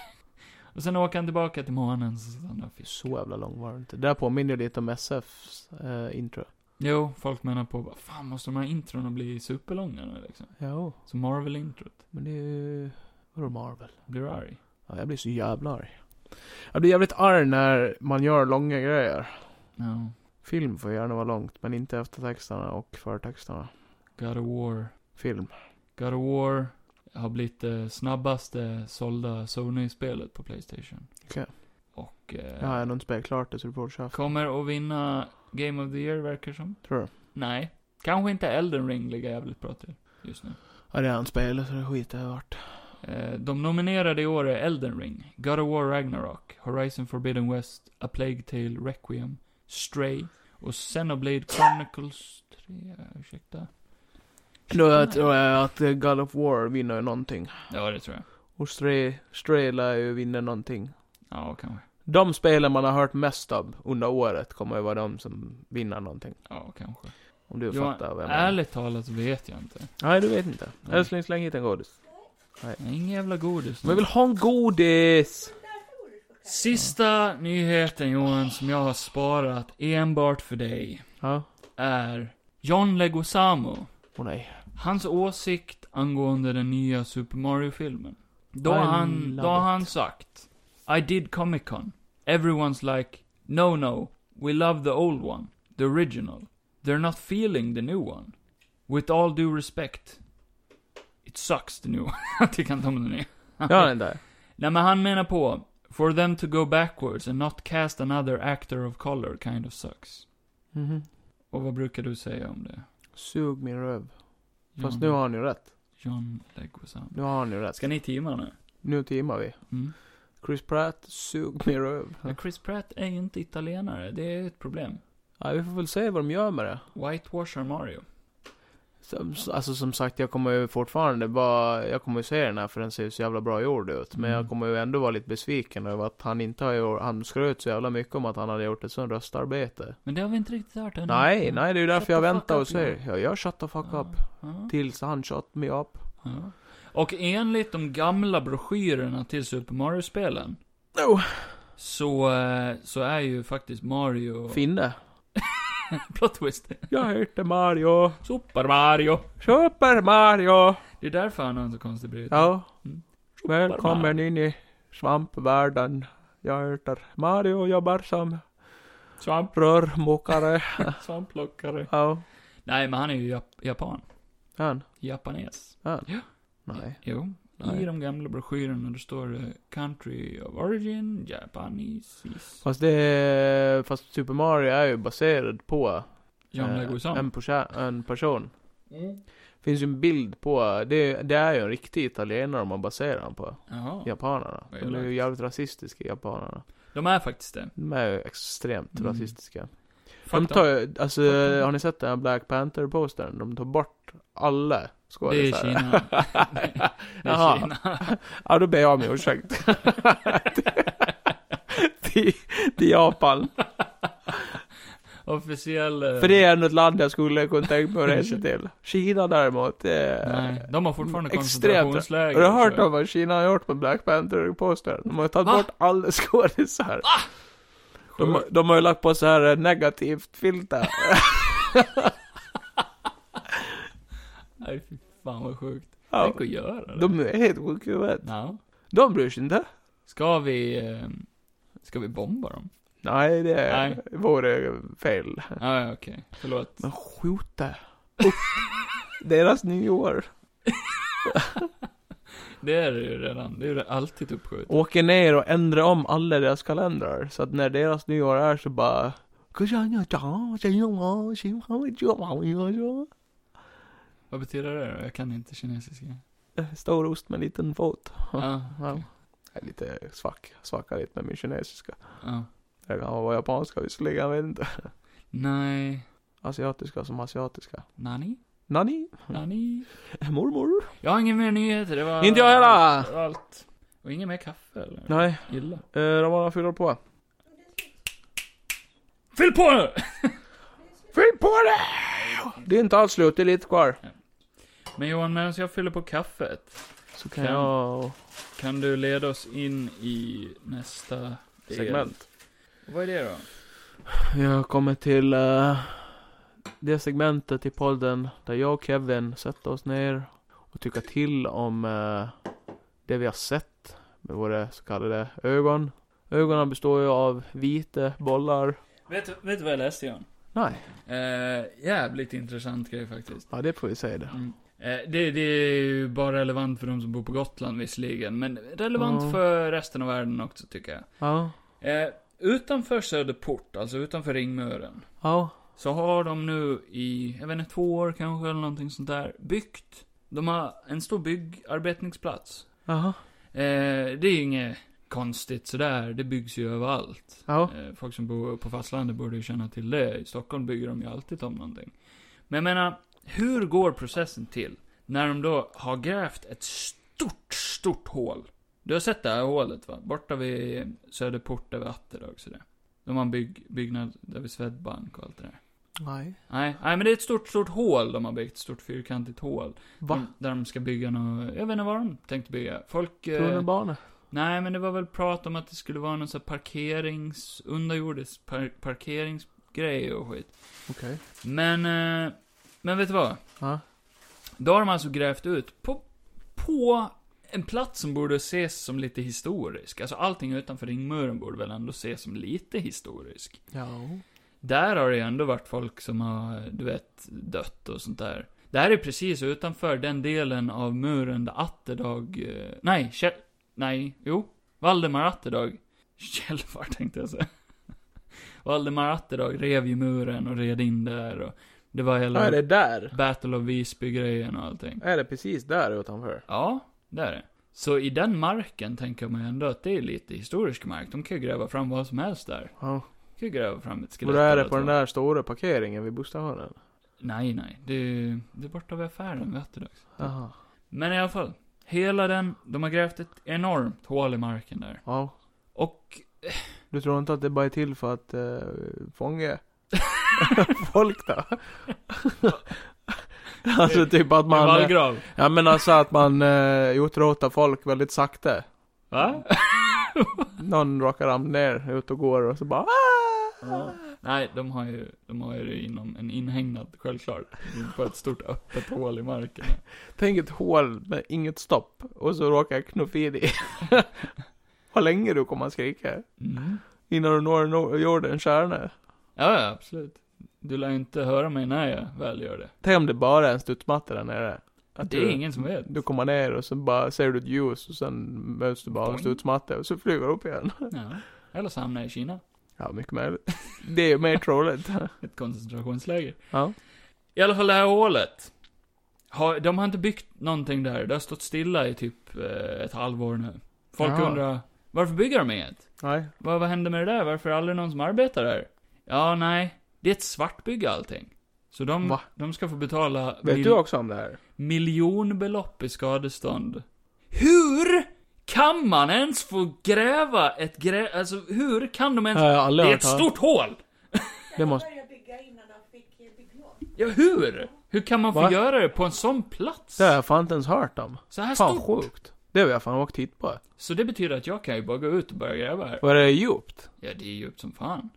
[LAUGHS] Och sen åker han tillbaka till månen så sitter han där och fiskar. Så jävla lång var det inte. Det där påminner lite om SFs eh, intro. Jo, folk menar på vad fan måste de här introna bli superlånga nu liksom? Jo, Så Marvel-introt. men det är ju... Vadå Marvel? Blir du arg? Ja, jag blir så jävla arg. Jag blir jävligt arg när man gör långa grejer. Ja. Film får gärna vara långt, men inte eftertexterna och förtexterna. God of War. Film. God of War har blivit det snabbaste sålda Sony-spelet på Playstation. Okej. Och och eh, Ja, jag har nog inte spelat klart det så du får köpa. kommer att vinna Game of the Year, verkar som. Tror du? Nej. Kanske inte Elden Ring ligger jävligt bra till just nu. Ja, det är han spelat så det skiter jag vart. Eh, de nominerade i år är Elden Ring, God of War Ragnarok, Horizon Forbidden West, A Plague Tale Requiem, Stray och Xenoblade Chronicles 3, ursäkta. Då Mm. tror jag att eh, God of War vinner någonting. Ja, det tror jag. Och Stray, Stray lär ju vinna någonting. Ja, kanske. De spelen man har hört mest av under året kommer ju vara de som vinner någonting. Ja, kanske. Om du Johan, fattar vad jag menar. Ärligt talat så vet jag inte. Nej, du vet inte. Nej. Älskling, släng hit en godis. Jag är ingen jävla godis nu. Men jag vill ha en godis! Sista nyheten Johan, som jag har sparat enbart för dig, Ja. är John Leguizamo. Åh nej. Hans åsikt angående den nya Super Mario-filmen. Då I har han, då love har it. han sagt I did Comic Con. Everyone's like, no no, we love the old one, the original. They're not feeling the new one. With all due respect. It sucks the new [LAUGHS] one. Jag tycker inte om den nya. Gör den där. [LAUGHS] Nej men han menar på, for them to go backwards and not cast another actor of color kind of sucks. Mhm. Och vad brukar du säga om det? Sug min röv. Fast John- nu har han ju rätt. John Leguizamo. Nu har han ju rätt. Mm. Ska ni teama nu? Nu teamar vi. Mm. Chris Pratt, sug min [LAUGHS] röv. Men Chris Pratt är ju inte italienare, det är ett problem. Ja, vi får väl se vad de gör med det. Whitewashar Mario. Som, alltså som sagt, jag kommer ju fortfarande bara, jag kommer ju se den här för den ser ju så jävla bra gjord ut. Men Mm. jag kommer ju ändå vara lite besviken över att han inte har gjort, han skröt så jävla mycket om att han hade gjort ett sånt röstarbete. Men det har vi inte riktigt hört ännu. Nej, nej det är ju Mm. Shut därför jag the fuck väntar up, och ser. Jag gör shut the fuck Ja. up. Ja, Tills han shut me up. ja. Och enligt de gamla broschyrerna till Super Mario-spelen, Oh. No. så, eh, så är ju faktiskt Mario... Finne. [LAUGHS] Plot twist. Jag heter Mario. Super Mario. Super Mario. Det är därför han har en så konstig brytning. Ja. Mm. Välkommen in i svampvärlden. Jag heter Mario och jobbar som Svamp, rörmokare. svampplockare. Ja. Nej, men han är ju jap- japan. Han? Japanes. Nej. Jo. I Nej. de gamla broschyrerna, då står det 'Country of Origin, Japanese is Fast det är, fast Super Mario är ju baserad på John eh, Leguizamo. en, perso- en person. Mm. Finns ju en bild på, det, det är ju en riktig italienare man baserar den på. Jaha. Japanerna. Vad De är ju elakt. jävligt rasistiska, japanerna. De är faktiskt det. De är ju extremt Mm. rasistiska. Fuck De tar ju, alltså, Fuck dem. har ni sett den här Black Panther-postern? De tar bort alla dem. Det är skådisar. Kina. det är Jaha. Kina. [LAUGHS] Ja, då ber jag om ursäkt. [LAUGHS] till, till Japan. Officiell... eh, För det är ändå ett land jag skulle kunna tänka mig att resa till. Kina däremot, det är... Nej, de har fortfarande Extremt. koncentrationsläger. Har du hört så- om vad Kina har gjort med Black Panther-postern? De har tagit Va? bort alla skådisar. De, de har ju lagt på så här eh, [LAUGHS] negativt filter. Nej, fy fan vad sjukt. Ja. Tänk att göra det. De är helt sjuka i huvudet. Ja. De bryr sig inte. Ska vi... eh, Ska vi bomba dem? Nej, det Nej. vore fel. Ja, ja, okej. Förlåt. Men skjuta upp [LAUGHS] deras nyår. Det är det ju redan. Det är ju alltid uppskjutet. Åker ner och ändrar om alla deras kalendrar. Så att när deras nyår är så bara... Vad betyder det då? Jag kan inte [LAUGHS] kinesiska. Stor ost med liten fot. Ja, Ja. okej. Jag är lite svack. Svackar lite med min kinesiska. ja. Jag kan vara japanska visserligen, men inte. Nej. Asiatiska som asiatiska. Nani? Nani? Nani? Mormor? Jag har ingen mer nyheter. Det var... Inte jag heller! Det var allt. Och ingen mer kaffe eller? Nej, Illa. eh, Ramona fyller på. Fyll på nu! Fyll på det! Det är inte alls slut, det är lite kvar. Men Johan, medan jag fyller på kaffet, Så kan Kan- jag... kan du leda oss in i nästa del? Segment. Vad är det då? Jag kommer till eh, det segmentet i podden där jag och Kevin sätter oss ner och tycker till om eh, det vi har sett med våra så kallade ögon. Ögonen består ju av vita bollar. Vet, du- vet du vad jag läste Johan? Nej, Eh, jävligt intressant grej faktiskt. ja det får vi säga det. Mm. Eh, det, det är ju bara relevant för de som bor på Gotland visserligen, men relevant Ja. för resten av världen också tycker jag. Ja, Eh, Utanför Söderport, alltså utanför ringmuren, Ja. så har de nu i, jag vet inte, två år kanske eller någonting sånt där, byggt. De har en stor byggarbetningsplats. Jaha. Eh, det är ju inget konstigt sådär, det byggs ju överallt. Ja. Eh, folk som bor på fastlandet borde ju känna till det. I Stockholm bygger de ju alltid om någonting. Men jag menar, hur går processen till? När de då har grävt ett stort, stort hål. Du har sett det här hålet va? Borta vid Söderport, där vid Atterdag och sådär. De har en bygg, byggnad där vid Swedbank och allt det där. Nej. Nej, nej men det är ett stort, stort hål de har byggt. Ett stort fyrkantigt hål. Va? Mm, Där de ska bygga något, jag vet inte vad de tänkte bygga. Folk... Eh, Tunnelbana? nej men det var väl prat om att det skulle vara någon sån här parkerings, underjordisk par, parkeringsgrej och skit. Okej. Men, eh, men vet du vad? Ja. Då har de alltså grävt ut på, på en plats som borde ses som lite historisk. Alltså allting utanför ringmuren borde väl ändå ses som lite historisk. Ja. Där har det ju ändå varit folk som har, du vet, dött och sånt där. Det här är precis utanför den delen av muren där Atterdag... eh, Nej, Kjell... Nej, jo. Valdemar Atterdag. [LAUGHS] Kjellvar tänkte jag säga. [LAUGHS] Valdemar Atterdag rev ju muren och red in där och... Det var hela Är det där? Battle of Visby-grejen och allting. Är det precis där utanför? Ja, det är det. Så i den marken tänker man ju ändå att det är lite historisk mark. De kan ju gräva fram vad som helst där. Ja. De kan ju gräva fram ett Och skelett. det är eller det på den två. där stora parkeringen vid busstationen? Nej, nej. Det är, det är borta vid affären vid Atterdags. Jaha. Men i alla fall. Hela den, de har grävt ett enormt hål i marken där. Ja. Och, Du tror inte att det bara är till för att eh, fånga [LAUGHS] folk då? [LAUGHS] alltså typ att en man... eh, vallgrav. Ja men alltså att man eh, utrotar folk väldigt sakta. Va? Någon råkar ramla ner, ut och går och så bara ah! Nej, de har ju, de har ju det inom en inhägnad, självklart. På ett stort öppet hål i marken. Tänk ett hål med inget stopp och så råkar jag knuffa i dig. [LAUGHS] Vad länge du kommer att skrika. Mm. Innan du når no- jordens kärna. Ja, ja, absolut. Du lär ju inte höra mig när jag väl gör det. Tänk om det bara är en studsmatta där nere. Att Det är ingen som vet. Du kommer ner och så bara ser du ett ljus och sen möts du bara av en Boing. studsmatta och så flyger du upp [LAUGHS] igen. Ja. Eller så hamnar jag i Kina. Ja, mycket möjligt. Det är ju mer [LAUGHS] troligt. Ett koncentrationsläger. Ja. I alla fall det här hålet. Har, de har inte byggt någonting där. Det har stått stilla i typ eh, ett halvår nu. Folk Jaha. undrar, varför bygger de inget? Nej. Vad, vad hände med det där? Varför är det aldrig någon som arbetar där? Ja, nej. Det är ett svartbygge allting. Så de, Va? de ska få betala Vet mil- du också om det här? miljonbelopp i skadestånd. Hur kan man ens få gräva ett grä... Alltså, hur kan de ens... jag har aldrig det är ett stort hål! Det måste... började bygga innan de fick eh, bygglov. Ja, hur? Hur kan man få Va? göra det på en sån plats? Det har jag fan inte ens hört om. Så här Fan stort. sjukt. Det vill jag fan åka och titta på. Så det betyder att jag kan ju bara gå ut och börja gräva här. Var det djupt? Ja, det är djupt som fan.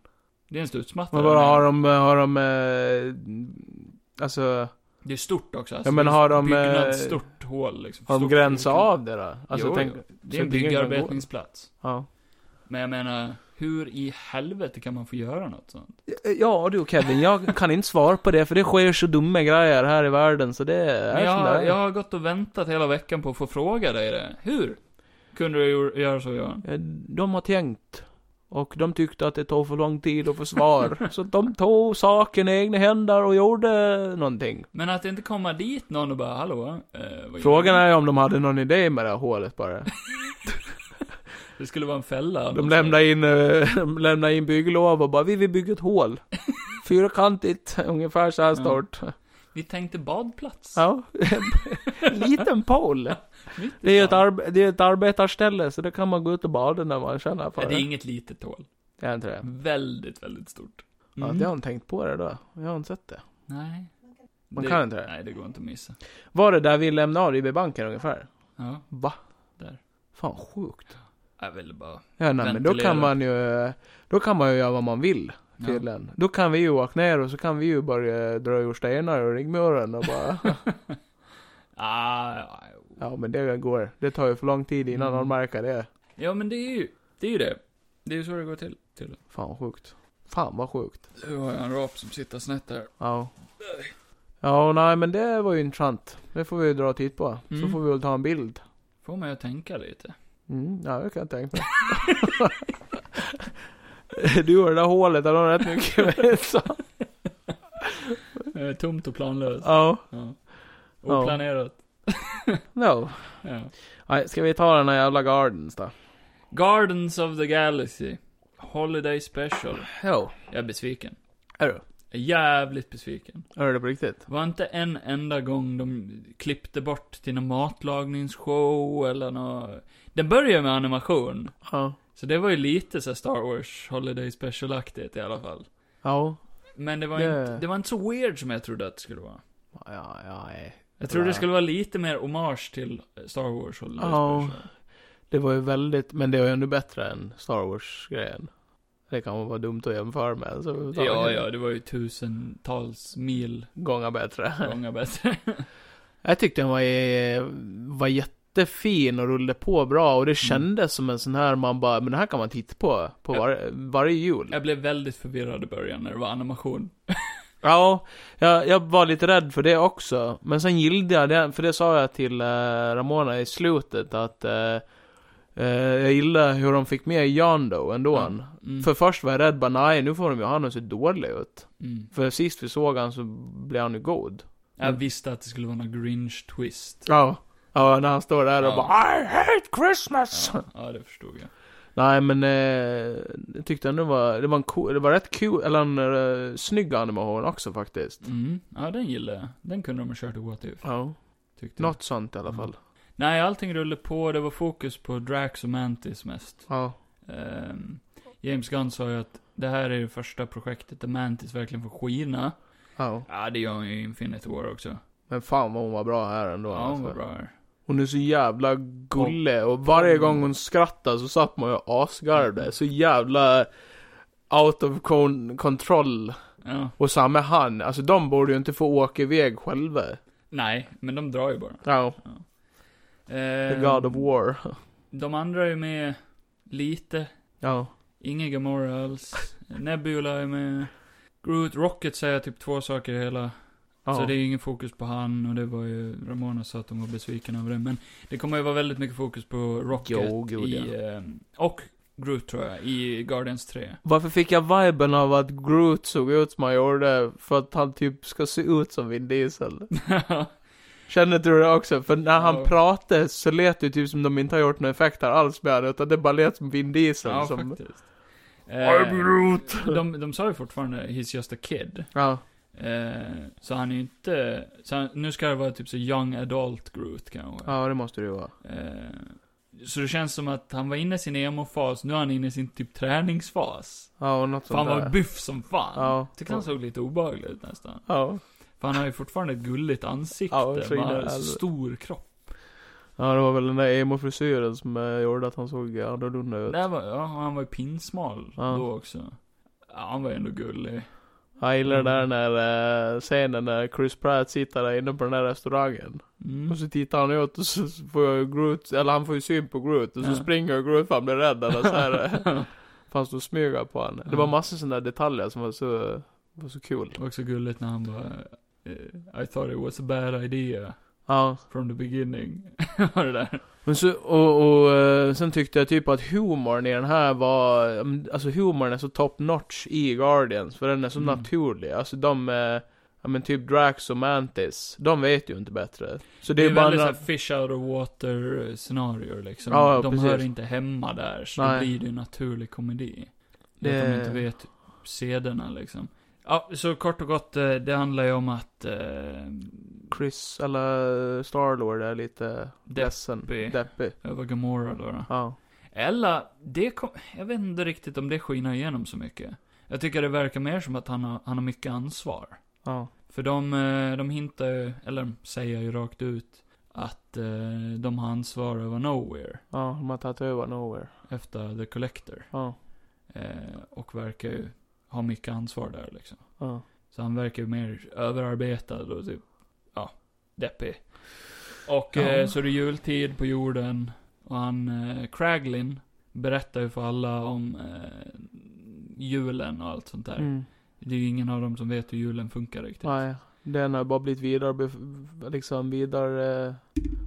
Det är en studsmatta. Men där bara har nere. de, har de, eh, alltså, Det är stort också. Alltså, Ja, men det är har de, eh, Byggnadsstort hål liksom. har de Stort gränsat hål. av det då? Alltså, Jo, tänk, jo. så Det är en ingen kan byggarbetningsplats. Ja. Men jag menar, hur i helvete kan man få göra något sånt? Ja du Kevin, jag kan inte svara på det för det sker så dumma grejer här i världen så det Men är som det är. jag, jag har gått och väntat hela veckan på att få fråga dig det. Hur? Kunde du gör- göra så, Göran? Eh, De har tänkt. Och de tyckte att det tog för lång tid att [LAUGHS] få svar. så de tog saken i egna händer och gjorde någonting. Men att inte komma dit någon och bara, hallå? Eh, vad Frågan gör är om de hade någon idé med det här hålet bara. du? Det skulle vara en fälla. De lämnade in, eh, [LAUGHS] de lämnade in bygglov och bara, vi vill bygga [LAUGHS] ett hål. Fyrkantigt, ungefär så här Ja. stort. Vi tänkte badplats. [LAUGHS] Ja. Liten [LAUGHS] pool. Mitt i Det är, ju ett stan. arbe- det är ett arbetarställe, så det kan man gå ut och bada när man känner för Ja, det är det. inget litet hål. Det är inte det. Mm. Väldigt, väldigt stort. Ja, det har hon tänkt på det då. Jag har inte sett det. Mm. Nej. Man det, kan inte det. Nej, det går inte att missa. Var det där vi lämnade ADB-banken ungefär? Ja, Va? där. Fan sjukt. Jag ville bara... Ja, nej, men då Ventilera. kan man ju, då kan man ju göra vad man vill Ja. tydligen. Då kan vi ju åka ner och så kan vi ju börja dra ur stenar och ringmuren och [LAUGHS] bara, [LAUGHS] Ah, ja, jo. ja men det går. Det tar ju för lång tid innan Mm. någon märker det. ja, men det är ju det. Är ju det. det är ju så det går till. till. Fan sjukt. Fan vad sjukt. Nu har jag en rap som sitter snett där. Ja. Ja, och nej men det var ju intressant. Det får vi ju dra och titta på. Så Mm. får vi väl ta en bild. Får mig att tänka lite. [LAUGHS] Mm, ja, det kan jag tänka mig. [LAUGHS] Du och det där hålet, han har [LAUGHS] rätt mycket gemensamt. Eh, Tomt och planlöst. Ja. Ja. Ja. Oplanerat. No. Ja. Nej, ska vi ta den här jävla Gardens då? Gardens of the Galaxy. Holiday Special. Jo. Jag är besviken. Är du? Jag är jävligt besviken. Är du det på riktigt? Var inte en enda gång de klippte bort till någon matlagningsshow eller nå. Den börjar med animation. Ja. Så det var ju lite så här Star Wars Holiday Special-aktigt i alla fall. Ja. Men det var, Det- Inte, det var inte så weird som jag trodde att det skulle vara. Ja, ja, nej. Jag trodde Ja. det skulle vara lite mer hommage till Star Wars Holiday Ja. Special. Det var ju väldigt, men det var ju ändå bättre än Star Wars-grejen. Det kan vara dumt att jämföra med. Så Ja, ja, det var ju tusentals [LAUGHS] mil Gånger bättre. gånger bättre. [LAUGHS] Jag tyckte den var, eh, var jättefin och rullade på bra och det kändes som en sån här man bara, men det här kan man titta på, på Ja. var, varje jul. jag blev väldigt förvirrad i början när det var animation. Ja, jag, jag var lite rädd för det också. Men sen gillade jag det, för det sa jag till eh, Ramona i slutet att eh, eh, jag gillade hur de fick med Yando ändå. Mm. För först var jag rädd bara, nej nu får de ju han att se dålig ut. Mm. För sist vi såg han så blev han ju god. Jag visste att det skulle vara någon grinch-twist. Ja. Ja, när han står där och Ja. bara I hate Christmas! Ja, ja, det förstod jag. Nej men, eh, jag tyckte ändå det var, det var en cool, det var rätt kul, eller en eh, snygg animation också faktiskt. Mm. Ja, den gillade jag. Den kunde de ha kört i What If, Ja. typ. tyckte jag. Något sånt i alla Mm. fall. Nej, allting rullade på. Det var fokus på Drax och Mantis mest. Ja. Ehm, James Gunn sa ju att det här är det första projektet där Mantis verkligen får skina. Ja. Ja, det gör hon ju i Infinity War också. Men fan vad hon var bra här ändå. alltså. Ja, hon var bra här. hon är så jävla gullig och varje gång hon skrattar så satt man ju och Mm. asgarvade. Så jävla out of con- control. Ja. Och samma han, alltså de borde ju inte få åka iväg själva. Nej, men de drar ju bara. Ja. The Ehm, God of War. De andra är med lite. Ja. Ingen Gamora alls. Nebula är med. Groot Rocket säger typ två saker i hela. ja. Så det är ingen fokus på han och det var ju, Ramona sa att de var besviken över det. Men det kommer ju vara väldigt mycket fokus på Rocket Jo, gud, i, eh, och Groot tror jag, i Guardians [LAUGHS] 3. Varför fick jag viben av att Groot såg ut som han gjorde för att han typ ska se ut som Vin Diesel? Känner du det också? För när han Ja. pratade så lät det typ som de inte har gjort några effekter alls med honom, utan det bara lät som Vin Diesel ja, som... faktiskt. Eh, I'm Groot! de, de sa ju fortfarande 'He's just a kid' Ja. eh, Så han är ju inte, så han, nu ska det vara typ så young adult Groot kanske. ja, det måste det ju vara. Eh, så det känns som att han var inne i sin emo-fas, nu är han inne i sin typ träningsfas. Ja, och något För han sånt var där. biff som fan. Ja. Tyckte han såg lite obehaglig ut nästan. Ja. För han har ju fortfarande ett gulligt ansikte, Ja, så men han har inne- så stor kropp. ja, det var väl den där emo-frisyren som eh, gjorde att han såg annorlunda ut. Där var, ja, han var ju pinsmal Ja. då också. Ja, han var ju ändå gullig. Jag gillar det Mm. där när eh, scenen när Chris Pratt sitter där inne på den där restaurangen. Mm. Och så tittar han ut och så får jag Groot, eller han får ju syn på Groot och så Ja. springer Groot för han blir rädd eller [LAUGHS] så här. eh, Fanns det smyga på honom. Det var Ja. massor sådana där detaljer som var så, var så kul. Också gulligt när han bara, eh, I thought it was a bad idea Ja. from the beginning. [LAUGHS] var det där? Men så, och, och eh, sen tyckte jag typ att humorn i den här var, ja, men, alltså humorn är så top notch i Guardians, för den är så Mm. naturlig. Alltså de, eh, ja men typ Drax och Mantis, de vet ju inte bättre. Så Det är, bara väldigt en- såhär fish out of water eh, scenarier liksom. Ja, ja, de precis. hör inte hemma där, så Nej. då blir det ju naturlig komedi. Det... Det- Att de inte vet sederna liksom. Ja, så kort och gott, eh, det handlar ju om att eh, Chris, eller Starlord är lite ledsen. Deppig. Deppig. Över Gamora då. då. Ja. Eller, det kom, jag vet inte riktigt om det skiner igenom så mycket. Jag tycker det verkar mer som att han har, han har mycket ansvar. Ja. För de, eh, de hintar ju, eller de säger ju rakt ut, att eh, de har ansvar över Nowhere. Ja, de har tagit över Nowhere. Efter The Collector. Ja. Eh, och verkar ju ha mycket ansvar där liksom. Ja. Så han verkar ju mer överarbetad och typ, ja, deppig. Och Ja. eh, så är det jultid på jorden. Och han, eh, Kraglin, berättar ju för alla om eh, julen och allt sånt där. Typ. Mm. Det är ju ingen av dem som vet hur julen funkar riktigt. Nej. Den har bara blivit vidare, bef- liksom vidare eh,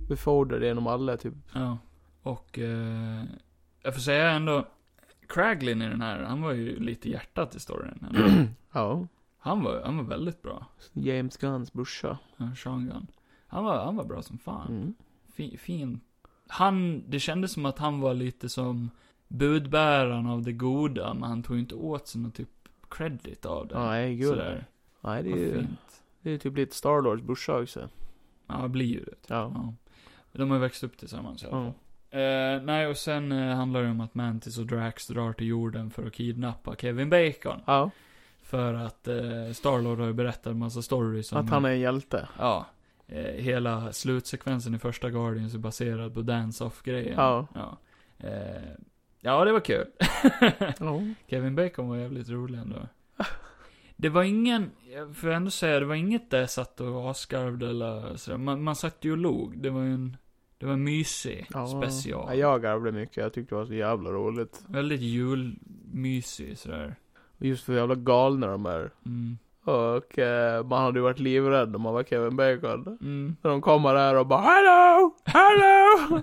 befordrad genom alla typ. Ja. Och, eh, jag får säga ändå, Craglin i den här, han var ju lite hjärtat i storyn. [CLEARS THROAT] ändå. Ja. Han var, han var väldigt bra. James Gunns brorsa. Ja, Sean Gunn. Han var, han var bra som fan. Mm. Fin, fin. Han, det kändes som att han var lite som budbäraren av det goda, men han tog inte åt sig någon typ credit av det. Nej, gud. Sådär. Nej, det är Vad ju fint. det är typ lite Starlords brorsa också. Ja, det blir ju det. Ja. Ja. De har ju växt upp tillsammans i alla fall. ja. Mm. Eh, nej, och sen eh, handlar det om att Mantis och Drax drar till jorden för att kidnappa Kevin Bacon. Ja, För att eh, Starlord har ju berättat en massa stories om... att han är en hjälte. Ja. Eh, hela slutsekvensen i första Guardians är baserad på dance-off-grejen. Ja. Ja. Eh, ja, det var kul. [LAUGHS] Ja. Kevin Bacon var jävligt rolig ändå. Det var ingen, jag får ändå säga, det var inget där jag satt och asgarvde eller sådär. Man, man satt ju och log. Det var ju en, det var en mysig Ja. special. Ja, jag garvade mycket. Jag tyckte det var så jävla roligt. Väldigt julmysig sådär. Och Just för hur jävla galna de är. Mm. Och eh, man hade ju varit livrädd om man var Kevin Bacon. Mm. När de kommer där och bara Hello! Hello!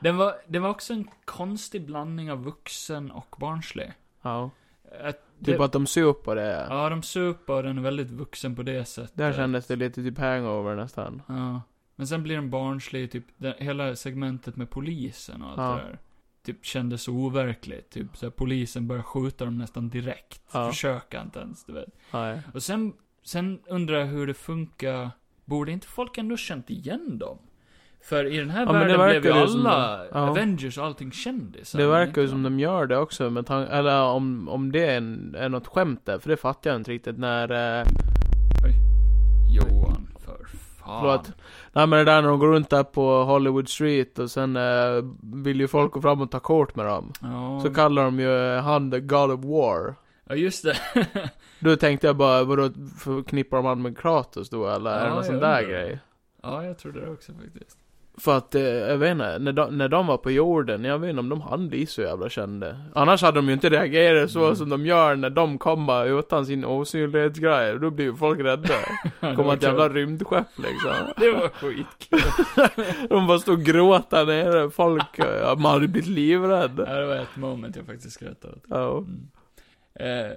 Den var, den var också en konstig blandning av vuxen och barnslig. [LAUGHS] ja. Att Typ det, att de ser upp på det. Ja, de super och den är väldigt vuxen på det sättet. Där kändes det lite typ hangover nästan. Ja. Men sen blir den barnslig, typ den, hela segmentet med polisen och allt Ja. det där. Typ kändes overkligt. Typ såhär, polisen börjar skjuta dem nästan direkt. Ja. Försöka inte ens, du vet. Nej. Och sen, sen undrar jag hur det funkar. Borde inte folk ändå känt igen dem? För i den här Ja, men det världen blev ju verkar ju som alla det. Ja. Avengers och allting kändisar. Det men verkar inte ju som de gör det också med tan- eller om, om det är, en, är något skämt där, för det fattar jag inte riktigt när... Eh, Johan, för fan. Förlåt. Nej men det där när de går runt där på Hollywood Street och sen eh, vill ju folk gå fram och ta kort med dem. Ja, Så kallar de ju eh, han the God of War. ja just det. Då tänkte jag bara, vadå förknippar de han med Kratos då eller? Ja, är det någon jag sån där undrar. grej? ja, jag trodde det också faktiskt. För att, eh, jag vet inte, när de, när de var på jorden, jag vet inte om de hann bli så jävla kända. Annars hade de ju inte reagerat så Mm. som de gör när de kommer utan sin osynlighetsgrej. Då blir ju folk rädda. [LAUGHS] Ja, det Kommer var ett jävla kul. [LAUGHS] rymdskepp liksom. Det var skitkul. De bara stod och gråta nere, folk, eh, man hade blivit livrädd. ja, det var ett moment jag faktiskt skrattade åt. Ja, Mm. Eh,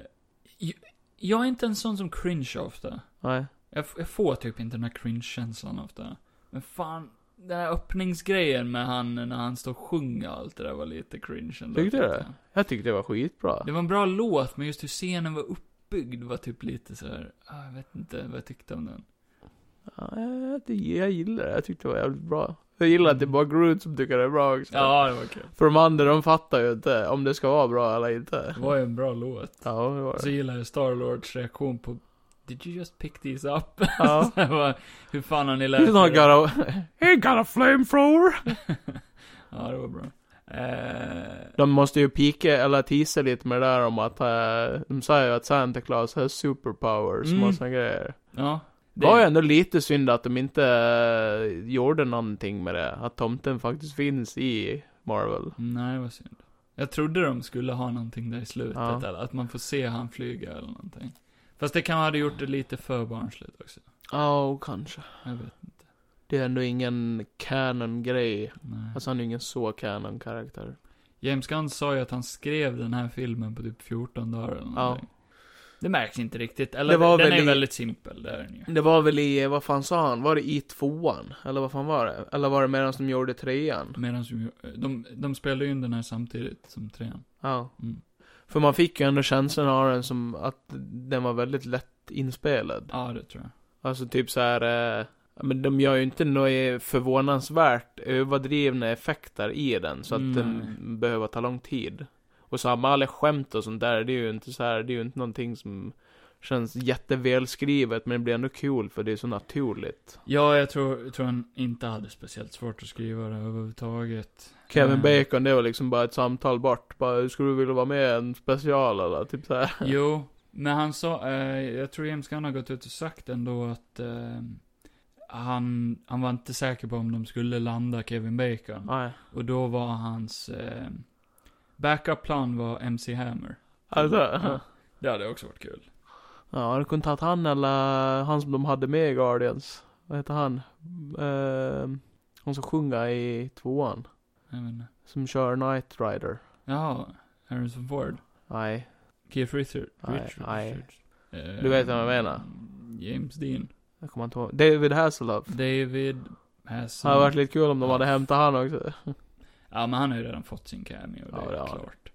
ju- jag är inte en sån som cringe ofta. nej. Jag, f- jag får typ inte den här cringe-känslan ofta. Men fan, den här öppningsgrejen med han när han står och sjunger och allt det där var lite cringe ändå. Tyckte du tyckte jag. Jag tyckte det var skitbra. Det var en bra låt, men just hur scenen var uppbyggd var typ lite så här. ah, jag vet inte vad jag tyckte om den. Ja, jag, jag gillar det, jag tyckte det var jävligt bra. Jag gillar att det är bara Groot som tycker det är bra också. Mm. Ja, det var kul. För de andra, de fattar ju inte om det ska vara bra eller inte. Det var ju en bra låt. Ja, det var Så det. gillar jag Starlords reaktion på Did you just pick these up? Ja. [LAUGHS] Så jag bara, Hur fan har ni lärt He's not er? got a... [LAUGHS] He got a flamethrower! Ja, det var bra. Eh, De måste ju pika eller teasa lite med det där om att eh, de säger ju att Santa Claus har superpowers Mm. och såna grejer. ja. Det var ju ändå lite synd att de inte eh, gjorde någonting med det. Att tomten faktiskt finns i Marvel. Nej, vad synd. Jag trodde de skulle ha någonting där i slutet, Ja. eller att man får se han flyga eller någonting. Fast det kan ha gjort det lite för barnsligt också. Ja, kanske. Jag vet inte. Det är ändå ingen canon-grej. Nej. Alltså han är ju ingen så canon-karaktär. James Gunn sa ju att han skrev den här filmen på typ 14 dagar eller någonting. Det märks inte riktigt. Eller Det var den väl är i- väldigt simpel, det är den ju. Det var väl i, vad fan sa han? Var det i tvåan? Eller vad fan var det? Eller var det medan de gjorde trean? Medan de, de, de spelade ju in den här samtidigt som trean. Ja. Mm. För man fick ju ändå känslan av den som att den var väldigt lätt inspelad. Ja, det tror jag. Alltså typ så här. Eh, men de gör ju inte några förvånansvärt överdrivna effekter i den. Så att Nej. den behöver ta lång tid. Och samma alla skämt och sånt där. Det är ju inte så här, det är ju inte någonting som känns jättevälskrivet. Men det blir ändå kul för det är så naturligt. Ja, jag tror, tror han inte hade speciellt svårt att skriva det [LAUGHS] överhuvudtaget. Kevin Mm. Bacon, det var liksom bara ett samtal bort. Bara, skulle du vilja vara med i en special eller typ så här. Jo, men han sa, eh, jag tror James Gunn har gått ut och sagt ändå att eh, han, han var inte säker på om de skulle landa Kevin Bacon. Nej. Och då var hans eh, backup-plan var MC Hammer. Alltså. Ja. Det hade också varit kul. Ja, det kunde tagit han eller han som de hade med i Guardians. Vad heter han? Eh, han som sjunger i tvåan. Jag vet inte. Som kör Knight Rider. Ja, Harrison Ford. Nej. Keith Richard. Nej, Richard. nej. Richards. Eh, Du vet vad jag menar. James Dean. Jag kommer inte ihåg. David Hasselhoff. David Det Hassan. hade varit lite kul om de hade hämtat han också. Ja, men han har ju redan fått sin cameo, det Ja, är det har han. klart.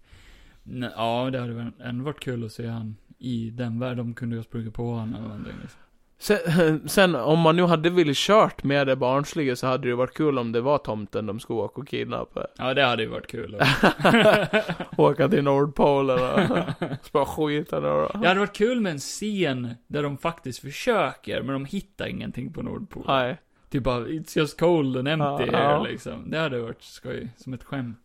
Nej, ja, det hade väl ändå varit kul att se han i den värld de kunde ju ha sprungit på honom eller någonting. Liksom. Sen, [LAUGHS] sen om man nu hade velat kört med det barnsliga så hade det ju varit kul om det var tomten de skulle åka och kidnappa. [LAUGHS] Ja, det hade ju varit kul. Åka till Nordpolen och [LAUGHS] spöa skiten ur dem. Det hade varit kul med en scen där de faktiskt försöker, men de hittar ingenting på Nordpolen. Nej. Typ bara, it's just cold and empty Ja, here, ja. liksom. Det hade varit skoj, som ett skämt.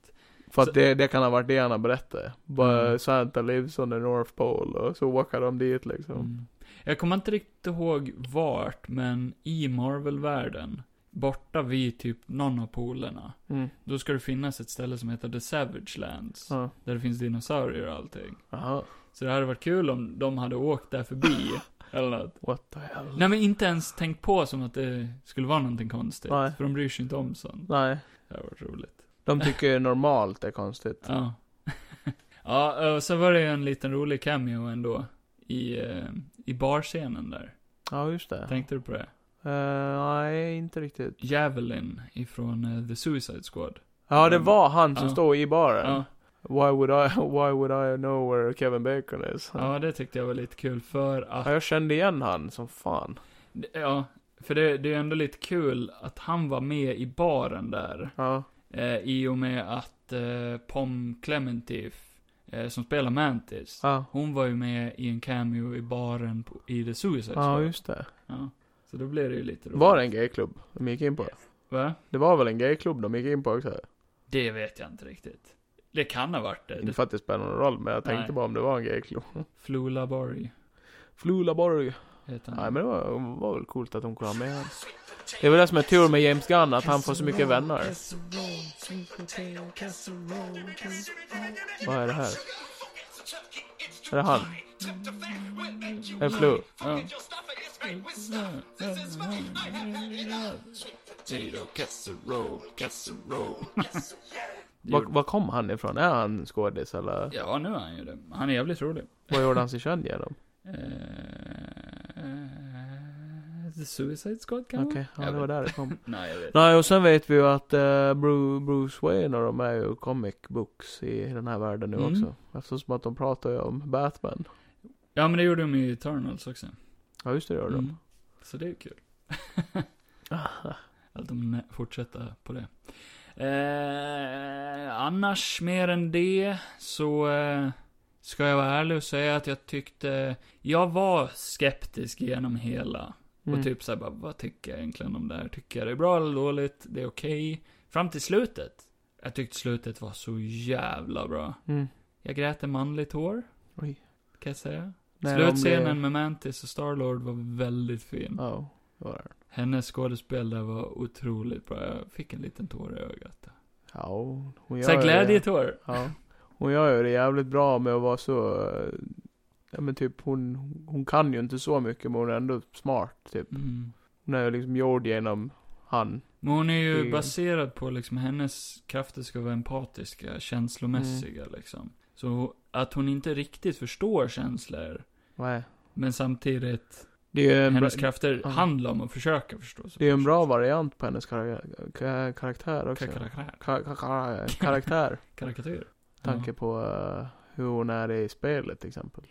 För Så- att det, det kan ha varit det han har berättat. Bara Mm. Santa lives on the North Pole och så åker de dit liksom. Mm. Jag kommer inte riktigt ihåg vart, men i Marvel-världen, borta vid typ någon av polerna, Mm. Då ska det finnas ett ställe som heter The Savage Lands. Ja. Där det finns dinosaurier och allting. Jaha. Så det hade varit kul om de hade åkt där [LAUGHS] förbi. eller något. What the hell. Nej men inte ens tänkt på som att det skulle vara någonting konstigt. Nej. För de bryr sig inte om sånt. Nej. Det hade varit roligt. De tycker ju normalt är konstigt. Ja. [LAUGHS] ja, och sen var det ju en liten rolig cameo ändå. I, eh, i barscenen där. Ja, just det. Tänkte du på det? Eh, nej, inte riktigt. Javelin ifrån eh, The Suicide Squad. Ja, det var han som Mm. Ja. stod i baren. Ja. Why would I, [LAUGHS] why would I know where Kevin Bacon is? ja, det tyckte jag var lite kul för att Ja, jag kände igen han som fan. Ja, för det, det är ändå lite kul att han var med i baren där. Ja. Eh, I och med att eh, Pom Clementif, eh, som spelar Mantis, Ja, hon var ju med i en cameo i baren på, i The Suicide ja Squad. just det. Ja. Så då blev det ju lite roligt. Var det en gayklubb de gick in på? Va? Det var väl en gayklubb de gick in på också? Det vet jag inte riktigt. Det kan ha varit det. Inte det för att det spelar någon roll, men jag tänkte Nej. bara om det var en gayklubb. Flula Borg Flulaborg. heter han. Nej, men det var, var väl coolt att de kunde ha med honom. Det är väl det som är tur med James Gunn, att han får så mycket vänner. Vad är det här? Är det han? Är det Flu? Ja. Potato casserole, casserole. Det Var, gjorde- var kom han ifrån? Är han skådis eller? Ja, nu är han ju det. Han är jävligt rolig. Vad gjorde han sig känd genom? Eh, The Suicide Squad kan Okej, ja, Jag det var där det kom. man? Nej, jag vet. Nej, och sen vet vi ju att eh, Bru- Bruce Wayne och de är ju comic books i den här världen nu Mm. också. Eftersom att de pratar ju om Batman. Ja, men det gjorde de i Eternals också. Ja, just det, det gör de. Mm. Så det är kul. [LAUGHS] Att de nä- fortsätter på det. Eh, annars, mer än det, så eh, ska jag vara ärlig och säga att jag tyckte... Jag var skeptisk genom hela. Mm. Och typ såhär bara, vad tycker jag egentligen om det här? Tycker jag det är bra eller dåligt? Det är okej. Fram till slutet. Jag tyckte slutet var så jävla bra. Mm. Jag grät en manlig tår, Oj. kan jag säga. Nej, Slutscenen de blir- med Mantis och Starlord var väldigt fin. Ja, det var det. Hennes skådespel där var otroligt bra. Jag fick en liten tår i ögat. Ja, hon gör Såhär ju det. glädjetår. Ja. Hon gör ju det jävligt bra med att vara så... eh, Ja men typ hon, hon kan ju inte så mycket men hon är ändå smart typ. Mm. Hon är ju liksom gjord genom han. Men hon är ju Det- baserad på liksom hennes krafter ska vara empatiska, känslomässiga Mm. liksom. Så att hon inte riktigt förstår känslor, Nej. men samtidigt Det är ju en, bra, Hennes krafter ja. handlar om att försöka förstå. det är ju en bra variant på hennes kar, ka- karaktär också. Karakar- Ka- ka- ka- karaktär. karikatyr. [LAUGHS] Tanke Ja. på eh, hur hon är i spelet till exempel.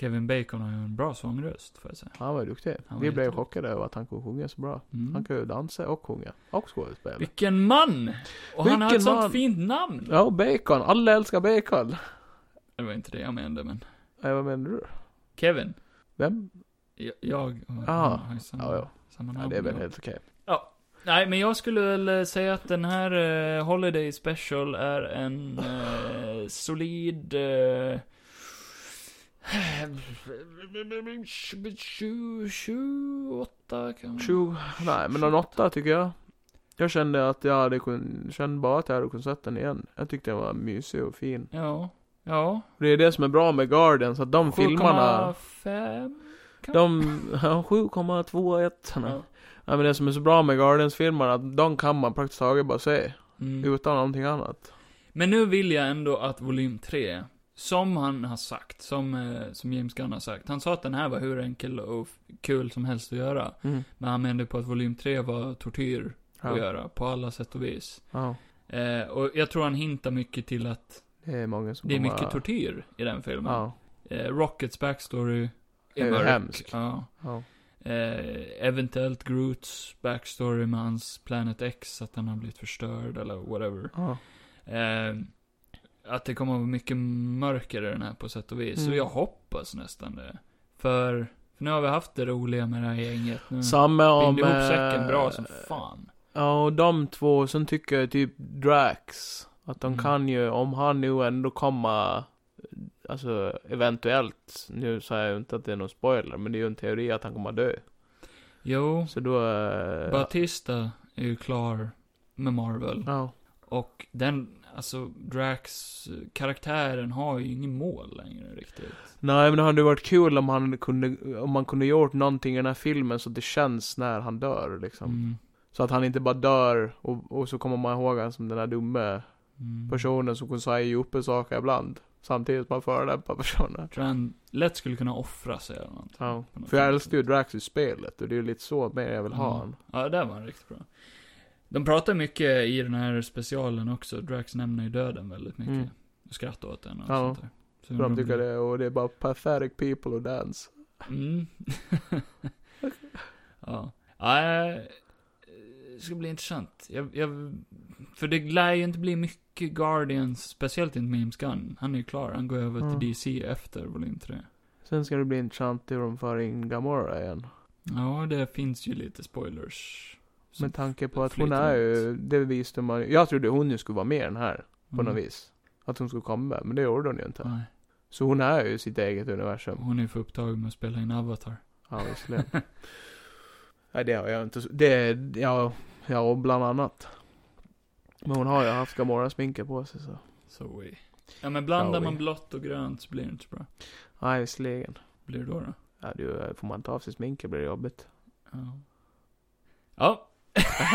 Kevin Bacon har ju en bra sångröst, får jag säga. Han var ju duktig. Han var Vi blev ju jätteduktig. chockade över att han kunde sjunga så bra. Han Mm. kan ju dansa och sjunga. Och skådespela. Vilken man! Och han har Vilken ett sånt man! fint namn! Ja, och bacon. Alla älskar bacon. Det var inte det jag menade, men... Nej, vad menar du? Kevin. Vem? Jag, jag och Ah. han har ju samma, Ja, ja. samma namn. ja det är väl helt okej. Nej, men jag skulle väl eh, säga att den här eh, Holiday Special är en [LAUGHS] eh, solid... Eh, 28 kanske? Tjo. Nej, men någon åtta tycker jag. Jag kände att jag hade kun, kände bara att jag hade kunnat sett den igen. Jag tyckte den var mysig och fin. Ja. Ja. Det är det som är bra med Guardians, att de filmarna... 7,5? De... ja, 7,21. Ja. Nej men det som är så bra med Guardians-filmerna, att de kan man praktiskt taget bara se. Mm. Utan någonting annat. Men nu vill jag ändå att volym 3 Som han har sagt, som, eh, som James Gunn har sagt. Han sa att den här var hur enkel och f- kul som helst att göra. Mm. Men han menade på att volym 3 var tortyr att Ja. göra, på alla sätt och vis. ja. Eh, och jag tror han hintar mycket till att Det är många som det är kommer- mycket tortyr i den filmen. Ja. Eh, Rockets backstory Är är ju mörk. hemsk. Ja. ja. Eh, eventuellt Groots backstory med hans Planet X, att han har blivit förstörd eller whatever. ja. Eh, att det kommer att vara mycket mörker i den här på sätt och vis. Mm. Så jag hoppas nästan det. För, för nu har vi haft det roliga med det här gänget. Nu Samma om... Mm. binder ihop säcken eh, bra som fan. Ja, och de två, sen tycker jag typ Drax. Att de Mm. kan ju, om han nu ändå kommer, alltså eventuellt, nu säger jag inte att det är någon spoiler, men det är ju en teori att han kommer dö. Jo, Så då... eh, Batista är ju klar med Marvel. Ja. Och den, alltså Drax, eh, karaktären har ju ingen mål längre riktigt. Nej men det hade ju varit kul om han kunde, om man kunde gjort någonting i den här filmen så att det känns när han dör liksom. Mm. Så att han inte bara dör och, och så kommer man ihåg han som den här dumme Mm. personen som kunde säga uppe saker ibland. Samtidigt som man förolämpar personen. tror han lätt skulle kunna offra sig eller något. Ja. På något För jag sätt. älskar ju Drax i spelet och det är ju lite så mer jag vill ha Mm. han. Ja, där var han riktigt bra. De pratar mycket i den här specialen också. Drax nämner ju döden väldigt mycket. Mm. Och skrattar åt den och Ja. sånt där. Så För de undrar om tycker det och det är bara pathetic people who dance. Mm. [LAUGHS] ja. Nej, eh, det ska bli intressant. Jag, jag, för det lär ju inte bli mycket Guardians, speciellt inte med James Gunn. Han är ju klar, han går över till Mm. DC efter volym 3. Sen ska det bli intressant hur de för in Gamora igen. Ja, det finns ju lite spoilers. som Med tanke på att hon flyter är runt. ju, det visste man ju- Jag trodde hon ju skulle vara med i den här. På Mm. något vis. Att hon skulle komma, men det gjorde hon ju inte. Nej, Så hon är ju i sitt eget universum. hon är ju för upptagen med att spela in Avatar. Ja, [LAUGHS] visserligen. Nej, det har jag inte. så- Det, ja, ja, och bland annat. Men hon har ju haft Gamora-sminke på sig så. So we. Ja men blandar Shall we? man blått och grönt så blir det inte så bra. Nej, visserligen. Blir det då då? Ja, du, får man ta av sig sminket blir det jobbigt. Ja. Ja. [LAUGHS]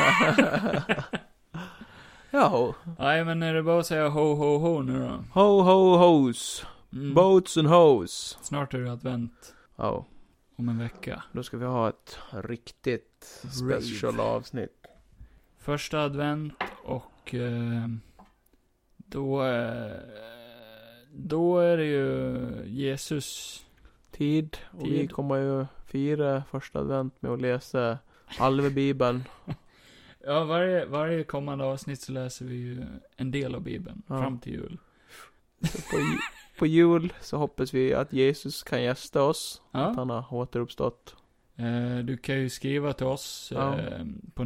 ja, ho. Nej men är det bara att säga ho ho ho nu då? ho, ho, hos. Mm. Boats and hos. Snart är det advent. Ja, Om en vecka. då ska vi ha ett riktigt special avsnitt. Första advent och eh, då, eh, då är det ju Jesus. Tid. Och vi Tid. kommer ju fira första advent med att läsa halva [LAUGHS] bibeln. Ja, varje, varje kommande avsnitt så läser vi ju en del av Bibeln. Ja. Fram till jul. Så på, ju- på jul så hoppas vi att Jesus kan gästa oss. Att Ja. han har återuppstått. Eh, du kan ju skriva till oss Ja. eh, på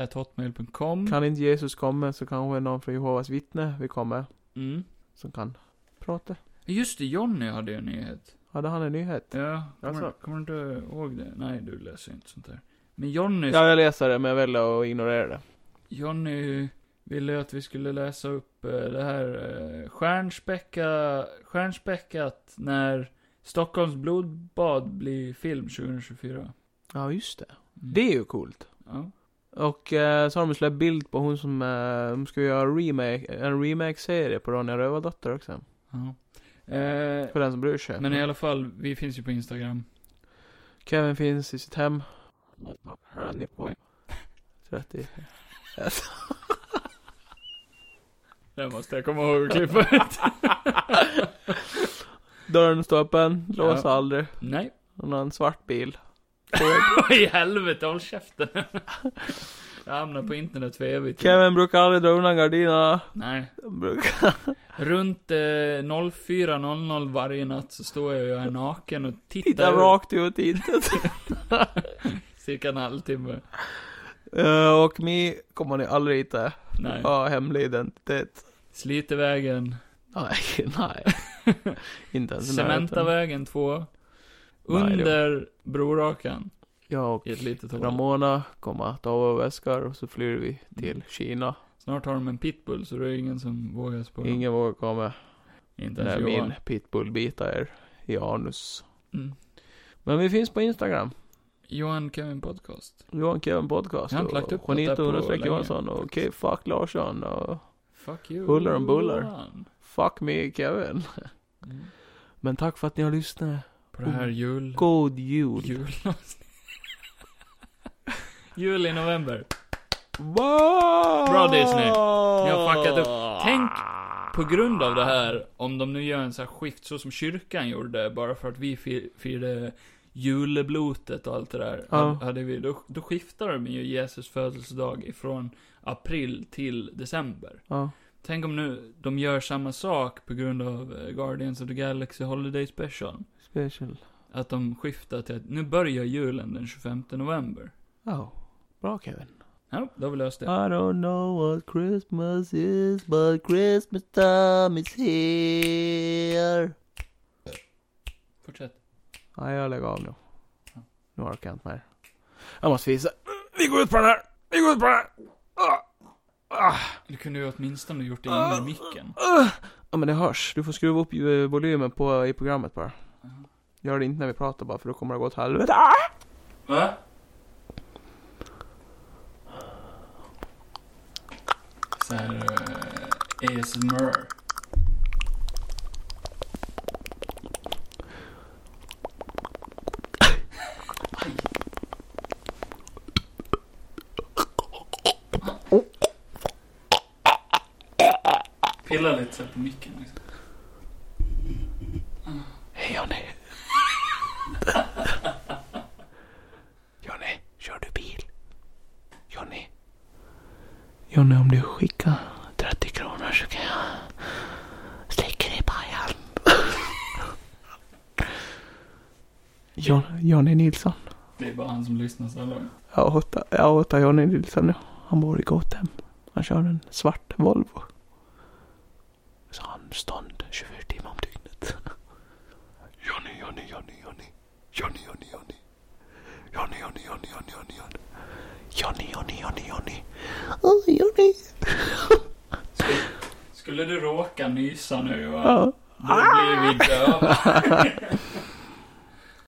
nördnytt.hotmail.com. Kan inte Jesus komma så kanske någon från Jehovas vittne vill komma. Mm. Som kan prata. Just det, Jonny hade ju en nyhet. Hade han en nyhet? Ja, kommer, Jaså? kommer du inte ihåg det? Nej, du läser ju inte sånt där. Men Jonny, Ja, jag läser det men jag väljer att ignorera det. Jonny ville ju att vi skulle läsa upp eh, det här eh, stjärnspäcka, stjärnspäckat när Stockholms blodbad blir film 2024. Mm. Ja, just det. Det är ju coolt. Ja. Och eh, så har de släppt bild på hon som, eh, de ska göra remake, en remake-serie på Ronja Rövardotter också. ja. Eh, För den som bryr sig. men i alla fall, vi finns ju på Instagram. Kevin finns i sitt hem. 30. Det måste jag komma ihåg att klippa ut. Dörren står öppen, lås Ja. aldrig. [LAUGHS] Nej. Hon har en svart bil. Vad i helvete, håll käften. Jag hamnar på internet för evigt. Kevin brukar aldrig dra undan gardinerna. Nej. Han brukar- Runt eh, 04.00 varje natt så står jag och jag är naken och tittar Tittar ut rakt ut i intet. cirka en halvtimme. [LAUGHS] Eh, och mig kommer ni aldrig hitta. Nej. Ja, hemlig identitet. Sliter vägen. Nej, [LAUGHS] nej. [LAUGHS] Inte ens i närheten. Cementavägen 2. Nej, det- Under Brorakan. Jag och I ett litet hål. Ramona kommer att ta våra väskor och så flyr vi till Mm. Kina. Snart har de en pitbull så det är ingen som vågar spå. dem. Ingen vågar komma Inte ens när Johan. min pitbull bitar er i anus. Mm. Men vi finns på Instagram. Johan Kevin Podcast. Johan Kevin Podcast. Jag har inte lagt och upp något där på Juanito understreck länge, Johansson och faktiskt. K Fuck Larsson och Fuck you. Huller om buller. Johan. Fuck me Kevin. Mm. Men tack för att ni har lyssnat. På det här jul... Oh, God jul. Julavsnitt. [LAUGHS] Jul i november. Wow! Bra, Disney. Ni har fuckat upp. Tänk På grund av det här, om de nu gör en sån här skift så som kyrkan gjorde, bara för att vi fi- firade juleblotet och allt det där. Ja. hade- Hade vi, då, då skiftar de ju Jesus födelsedag ifrån april till december. Ja. Tänk om nu de gör samma sak på grund av eh, Guardians of the Galaxy Holiday Special. Special. Att de skiftar till att nu börjar julen den 25 november. Oh. Bra Kevin. Ja, då har vi löst det. I don't know what Christmas is, but Christmas time is here. Fortsätt. Nej, jag lägger av nu. Ja. Nu orkar jag inte mer. Jag måste visa. Vi går ut på den här! Vi går ut på den här! Ah! Ah! Du kunde ju åtminstone gjort det innan micken. Ah! Ja men det hörs. Du får skruva upp eh, volymen på, i programmet bara. Ja. Gör det inte när vi pratar bara för då kommer det gå åt helvete. Ah! Va? Såhär... Uh, ASMR. Pilla lite så här på micken liksom. Hej Johnny. Johnny, kör du bil? Johnny. Johnny, om du skickar 30 kronor så kan jag slicka dig i pajan. John- Johnny Nilsson. Det är bara han som lyssnar så här långt. Jag hatar, jag hatar Johnny Nilsson nu. Han bor i Gotham. Han kör en svart Volvo. Så han stånd 24 timmar om dygnet. [LAUGHS] Johnny, Johnny, Johnny, Johnny. Johnny, Johnny, Johnny. Johnny, Johnny, Johnny, Johnny, Johnny, Johnny. Johnny, Johnny, Johnny, Johnny. Åh, Johnny. Skulle du råka nysa nu va? Ja. Då blir vi döva.